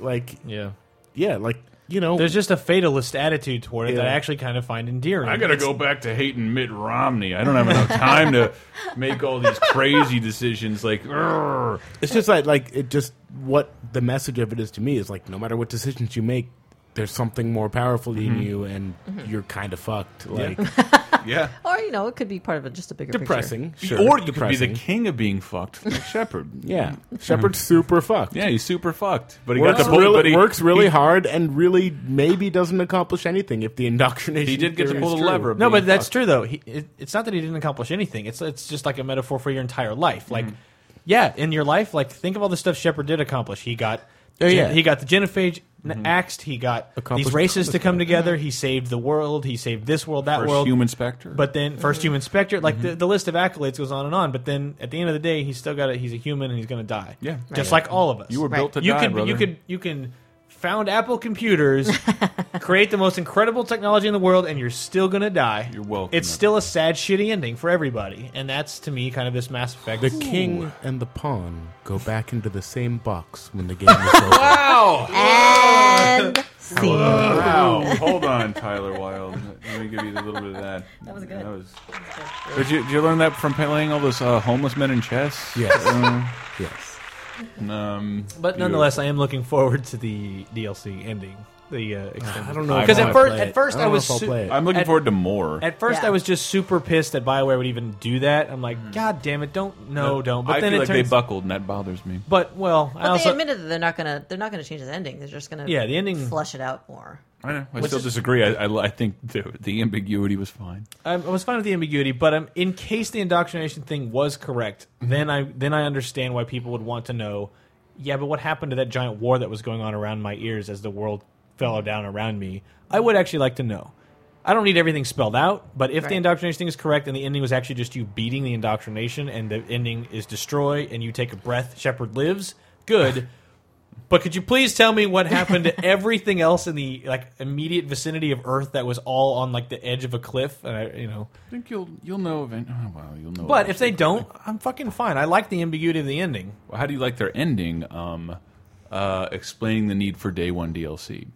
like
yeah.
yeah, like you know,
[laughs] There's just a fatalist attitude toward it that I
Yeah.
actually kind of find endearing.
I gotta go back to hating Mitt Romney. I don't have enough time to make all these crazy decisions. Like, "Urgh."
It's just like like it just what the message of it is to me is like no matter what decisions you make, there's something more powerful
Mm-hmm.
in you, and you're kind of
[laughs]
fucked. Like
yeah,
or you know, it could be part of a, just a bigger
depressing, sure,
or you could be
depressing.
the king of being fucked, like Shepard.
yeah, Shepard's super fucked.
yeah, he's super fucked, but he
Works,
got the bullet.
really,
but he,
works really
he-
hard and really maybe doesn't accomplish anything if the indoctrination.
He did get to
theory
pull
is
the
true.
lever. of
No,
being
but that's
fucked.
true though. He, it, it's not that he didn't accomplish anything. It's it's just like a metaphor for your entire life. Like, yeah, in your life, like think of all the stuff Shepard did accomplish. He got,
Oh,
gen-
yeah.
he got the genophage n axed. He got these
Accomplished
races to come together. He saved the world. He saved this world, that
First
world.
human specter.
But then 1st human specter, like
Mm-hmm.
the, the list of accolades goes on and on. But then at the end of the day, he's still got it. He's a human and he's going to die.
Yeah.
just like all of us.
You were
Right.
built to
you
die,
can
brother.
you could you can found Apple computers, create the most incredible technology in the world, and you're still gonna die.
You're welcome.
It's still a sad, shitty ending for everybody, and that's to me kind of this Mass Effect.
The king and the pawn go back into the same box when the game is
[laughs]
over.
[laughs]
And [laughs] scene.
uh,
Wow! [laughs] Hold on, Tyler Wilde. Let me give you a little bit of that. [laughs] That was good. Did you, did you learn that from playing all those uh, homeless men in chess?
Yes.
Uh,
yes.
um,
But nonetheless, I am looking forward to the DLC ending. The uh, extended.
I don't know
I
if
Because
I'll
at
first-
play
at
it.
first
I, don't
I
know
was
if I'll
su-
play it.
I'm looking
At-
forward to more.
At first,
Yeah.
I was just super pissed that Bioware would even do that. I'm like, God damn it! Don't no, don't. But
Mm. I
then
feel
it
like they
turns.
buckled, and that bothers me.
but well, I
But
also
they admitted that they're not gonna they're not gonna change his ending. They're just gonna
Yeah, the ending-
flush it out more.
I know. I still disagree. I, I, I think the, the ambiguity was fine.
I'm, I was fine with the ambiguity, but um, in case the indoctrination thing was correct, then I then I understand why people would want to know. Yeah, but what happened to that giant war that was going on around my ears as the world
Mm-hmm.
fell down around me? I would actually like to know. I don't need everything spelled out, but if
Right.
the indoctrination thing is correct and the ending was actually just you beating the indoctrination and the ending is destroy and you take a breath, Shepard lives, good. But could you please tell me [laughs] what happened to everything else in the like immediate vicinity of Earth that was all on like the edge of a cliff? And I, you know,
I think you'll you'll know event. Oh well, you'll know.
but if they don't, I'm fucking fine. I like the ambiguity of the ending.
how do you like their ending? Um, uh, explaining the need for day one DLC.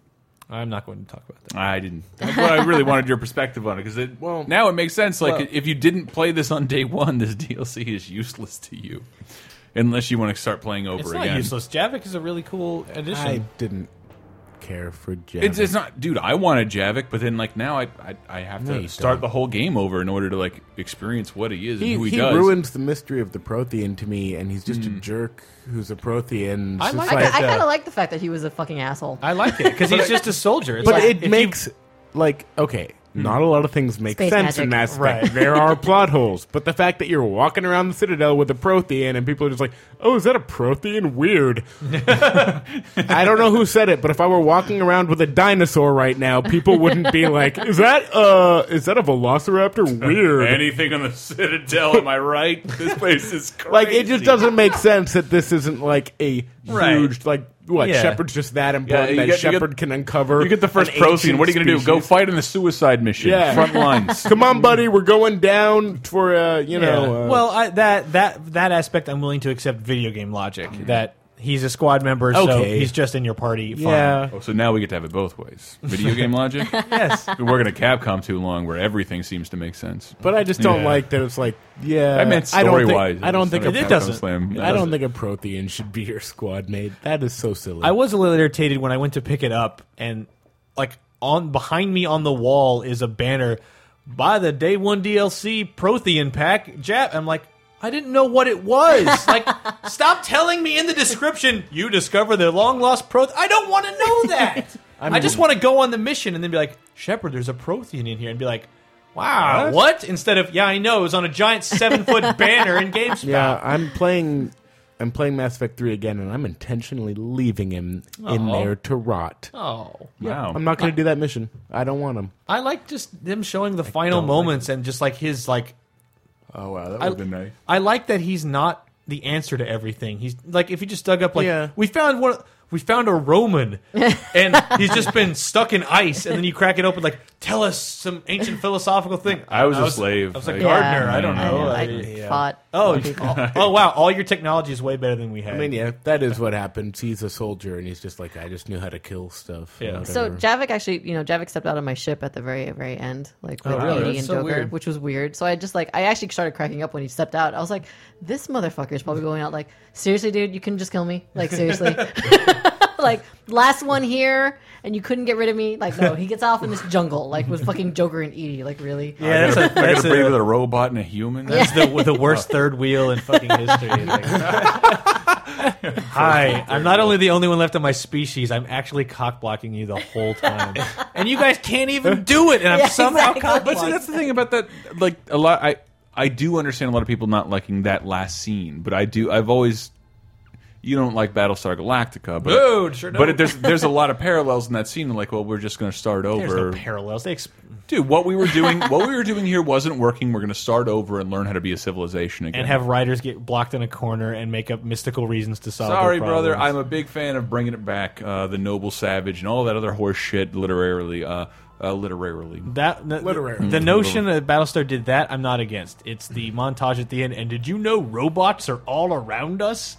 I'm not going to talk about that.
I didn't. That's what I really wanted your perspective on it because it, [laughs] well, now it makes sense. Like
well-
if you didn't play this on day one, this DLC is useless to you, unless you want to start playing over
It's
again.
not useless. Javik is a really cool addition.
I didn't care for Javik.
It's, it's not, dude. I wanted Javik, but then like now I I, I have
No,
to
you
start
don't.
the whole game over in order to like experience what he is
He,
and who he,
he
does. Hmm.
ruins the mystery of the Prothean to me, and he's just a jerk who's a Prothean. It's
I
just
like-
I,
Right,
I
uh,
kind of like the fact that he was a fucking asshole.
I like it because [laughs] he's just a soldier. It's
but
like, if
it
you-
makes like okay,
Hmm.
not a lot of things make
Space
sense in that
magic.
aspect. there are plot holes, but the fact that you're walking around the Citadel with a Prothean and people are just like, "Oh, is that a
[laughs]
Prothean? Weird." I don't know who said it, but if I were walking around with a dinosaur right now, people wouldn't be like, "Is that uh, is that a Velociraptor? Weird."
anything on the Citadel. Am I right? [laughs] This place is crazy.
[laughs] Like it just doesn't make sense that this isn't like a
Right.
huge like what
Yeah.
Shepard's just that important
you
that
get- you get-
Shepard can uncover.
You get the first
an
pro
ancient
scene. What are you going to do? Go
species.
fight in the suicide mission.
Yeah.
Front lines.
[laughs] Come on, buddy, we're going down for uh, you know.
Yeah.
Uh,
well, I, that that that aspect I'm willing to accept video game logic that he's a squad member, so
Okay.
he's just in your party. Fine.
yeah.
Oh, so now we get to have it both ways. Video game
[laughs]
logic.
Yes.
Been working at Capcom too long, where everything seems to make sense.
But I just don't
Yeah.
like that it's like yeah.
I meant
don't think-
story-wise.
I don't think
Sorry,
a-
Capcom
doesn't.
Slam.
I don't think a Prothean should be your squad mate. That is so silly.
I was a little irritated when I went to pick it up, and like on behind me on the wall is a banner by the day one DLC Prothean pack. Jap, I'm like. I didn't know what it [laughs] was. Like, stop telling me in the description you discover the long lost Proth. I don't want to [laughs] know that. I just want to go on the mission and then be like, Shepard, there's a Prothean in here, and be like, Wow, what? Instead of yeah, I know it was on a giant seven [laughs] foot banner in GameSpot.
yeah, I'm playing. I'm playing Mass Effect 3 again, and I'm intentionally leaving him in
Aw.
there to rot.
Oh,
Wow.
I'm not going to do that mission. I don't want him.
I like just them showing the final
don't like
moments and just like his like
Oh wow, that would
I,
have been nice.
I like that he's not the answer to everything. He's like if he just dug up like
Yeah.
we found one we found a Roman and he's just been stuck in ice and then you crack it open like tell us some ancient philosophical thing.
I was a slave.
I was a
Like,
gardener. I don't
I
know.
I,
I-
fought.
Oh, you- [laughs] oh, oh, wow! All your technology is way better than we had.
I mean, yeah, that is what happens. He's a soldier, and he's just like, I just knew how to kill stuff. and
Yeah.
whatever.
So Javik actually, you know, Javik stepped out of my ship at the very, very end, like with
Oh, really?
Unity
That's
and
so
Joker,
weird.
which was weird. So I just like, I actually started cracking up when he stepped out. I was like, this motherfucker is probably going out. Like, seriously, dude, you couldn't just kill me.
[laughs]
Like, seriously. [laughs] like last one here, and you couldn't get rid of me. Like, no, he gets off in this jungle, like with fucking Joker and Edie. Like, really? [laughs]
yeah, that's a,
I got
that's
to breed with
a,
a robot and a human.
that's the, the worst third wheel in fucking history. I think. Hi, I'm not only the only one left of my species. I'm actually cock blocking you the whole time, and you guys can't even do it. And I'm
[laughs] Yeah,
somehow
exactly.
cock
But see,
blocking.
that's the thing about that. Like a lot, I I do understand a lot of people not liking that last scene, but I do. I've always you don't like Battlestar Galactica, but
Dude, sure
but
don't.
it, there's there's a lot of parallels in that scene. Like, well, we're just going to start
There's
over.
no parallels. They ex-
Dude, what we were doing, what we were doing here wasn't working. We're going to start over and learn how to be a civilization again.
and have writers get blocked in a corner and make up mystical reasons to solve.
Sorry,
their
brother. I'm
problems.
a big fan of bringing it back. Uh, the noble savage and all that other horse shit, literarily, uh, uh, literarily.
that the,
Literary.
The notion that Battlestar did that, I'm not against. It's the montage at the end. And did you know robots are all around us?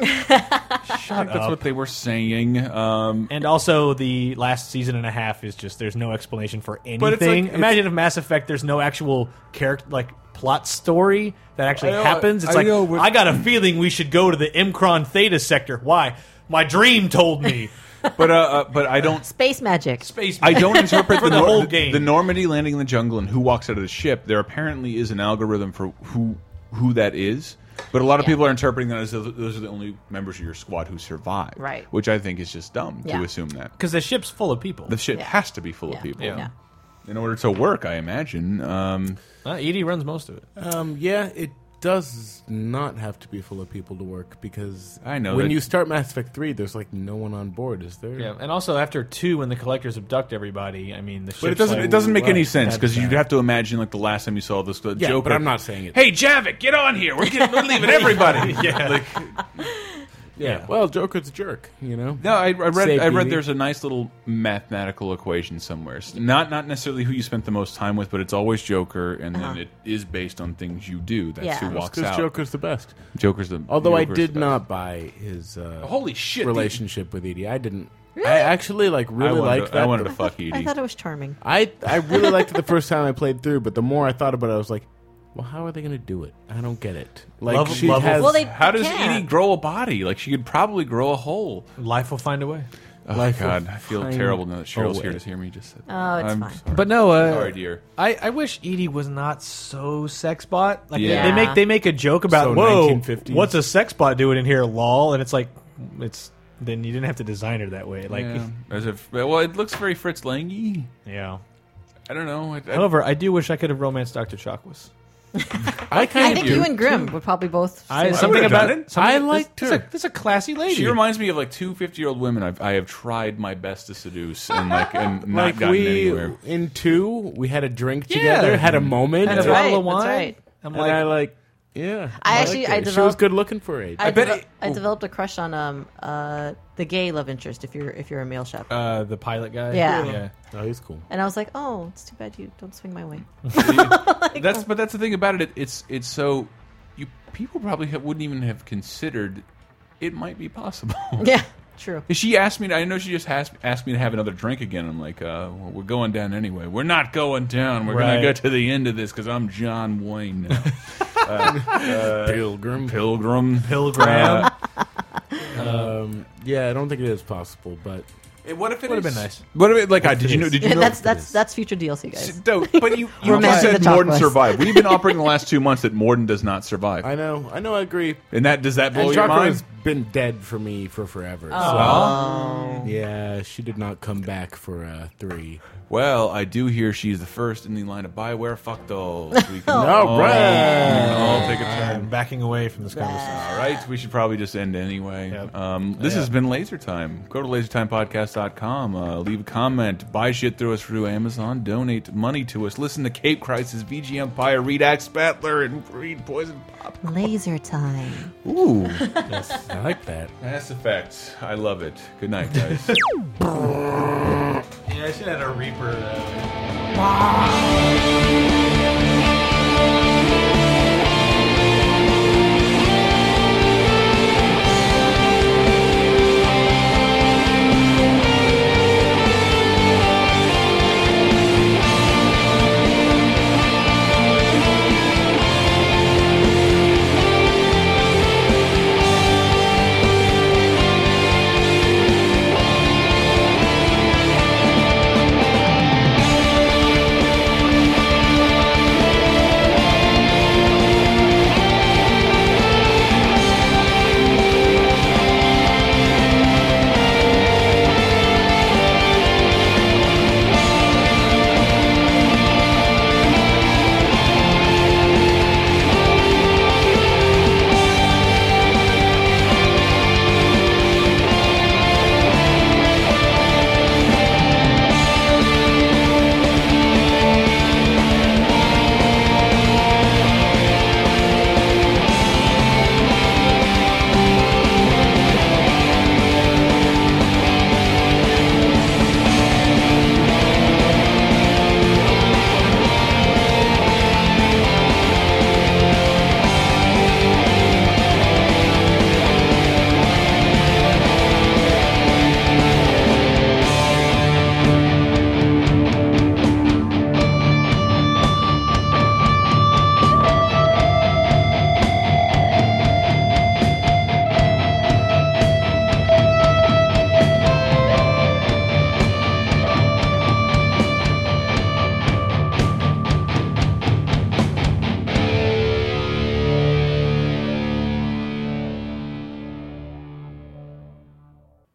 Shut
That's
up.
what they were saying. Um,
And also, the last season and a half is just there's no explanation for anything.
like- it's-
Imagine if Mass Effect there's no actual character like plot story that actually
I know,
happens. It's
I
like
know, but-
I got a feeling we should go to the Mcron Theta sector. Why? My dream told me.
[laughs] but uh, uh, but I don't
Space magic.
Space.
I don't interpret
For
the,
the
Nor-
whole game.
The Normandy landing in the jungle and who walks out of the ship. There apparently is an algorithm for who who that is, but a lot of people are interpreting that as those those are the only members of your squad who survive.
Right.
Which I think is just dumb
Yeah.
to assume that
because the ship's full of people.
the ship has to be full
Yeah.
of people
Yeah.
in order to work. I imagine. Um,
Uh, Edie runs most of it.
Um, yeah, it does not have to be full of people to work because
I know
when
that-
you start Mass Effect three, there's like no one on board, is there?
Yeah, and also after two, when the collectors abduct everybody, I mean the ship.
but it doesn't it doesn't make any sense because
That's
you'd
bad.
have to imagine like the last time you saw this the
Yeah,
Joker.
but I'm not saying it.
Hey Javik, get on [laughs] here.
[laughs]
We're, getting,
[laughs]
we're leaving everybody. yeah. Like,
yeah. Well, Joker's a jerk, you know.
No, I, I read.
Saved
I read.
Edie.
There's a nice little mathematical equation somewhere. S- Not not necessarily who you spent the most time with, but it's always Joker, and then it is based on things you do. That's
Uh-huh. Yeah.
who
That's
walks
because
out.
Joker's the best.
Joker's the.
Although I
Joker's
did
the best.
not buy his uh,
Holy shit!
relationship with Edie, I didn't. I actually like really
wanted
liked
to- I
that.
wanted
the-
to fuck Edie.
I thought it was charming.
I I really liked it the first time I played through, but the more I thought about it, I was like, well, how are they going to do it? I don't get it. Like
Level-
she
level-
has
Well, they
How does
can't.
Edie grow a body? Like she could probably grow a hole.
Life will find a way.
Oh
Life
God,
will
I feel
find
terrible now that Cheryl's
a
here
way.
to hear me just. Sit
Oh, it's fine.
But no, uh,
Sorry, dear.
I, I wish Edie was not so sex bot. Like
Yeah.
they, they make they make a joke about
So
whoa,
1950s.
what's a sex bot doing in here, lol? And it's like it's then you didn't have to design her that way. Like [laughs]
Yeah.
yeah.
As if, well, it looks very Fritz Langy. I don't know. I, I,
[laughs] However, I do wish I could have romanced Doctor Chakwas.
I
I
kind of
think you and Grim would probably both. Say
I
that.
something
would've
about
done it.
something-
I liked
this,
her.
This is a, this is a classy lady.
she reminds me of like two 50 year old women I've, I have tried my best to seduce and like
[laughs]
and not
like
gotten
we
anywhere.
in two, we had a drink together, had a moment,
And
That's
a
and,
right.
bottle of wine.
that's right.
I'm
and I
like,
like. Yeah,
I
liked
actually-
it.
I
she was
developed-
good looking for her age.
I,
bet
devel-
it-
I developed a crush on um uh the gay love interest. If you're if you're a male chef,
uh, the pilot guy.
Yeah.
oh, he's cool.
and I was like, oh, it's too bad you don't swing my way.
Oh
that's but that's the thing about it. it- It's it's so you people probably ha wouldn't even have considered it might be possible. [laughs]
Yeah, true.
She asked me. I know she just asked, asked me to have another drink again. I'm like, uh, well, we're going down anyway. We're not going down. We're
Right.
gonna go to the end of this because I'm John Wayne [laughs] now. Uh,
Pilgrim.
Pilgrim.
Pilgrim.
Uh,
Um, yeah, I don't think it is possible, but
and what if it
Would have
is-
been nice.
What if it like? I did you know? Did you
Yeah,
know?
[laughs] that's that's that's future DLC,
S-
guys.
Dope. But
[laughs]
you, you just
Romancing
said
the
Morden
chakras.
survived. We've been operating the
[laughs]
last two months that Morden does not survive.
I know, I know, I agree.
and that does that blow
and
your
Chakra
mind?
has been dead for me for forever.
Oh.
Oh.
So, yeah, she did not come back for uh, three.
Well, I do hear she's the first in the line of Bioware. Fuck
[laughs]
those. We can
All right.
all take a turn.
I'm backing away from this conversation.
All right, we should probably just end anyway.
Yep.
Um, this has been Laser Time. Go to lasertimepodcast.com. Uh, leave a comment. Buy shit through us through Amazon. Donate money to us. Listen to Cape Crisis, VG Empire, read Axe Battler, and read Poison Pop.
Laser time.
Ooh.
I like that.
Mass Effect. I love it. Good night,
[laughs]
guys.
Yeah, I should have had a Reaper. uh,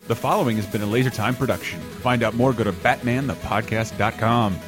the following has been a Laser Time production. Find out more, go to batmanthepodcast.com.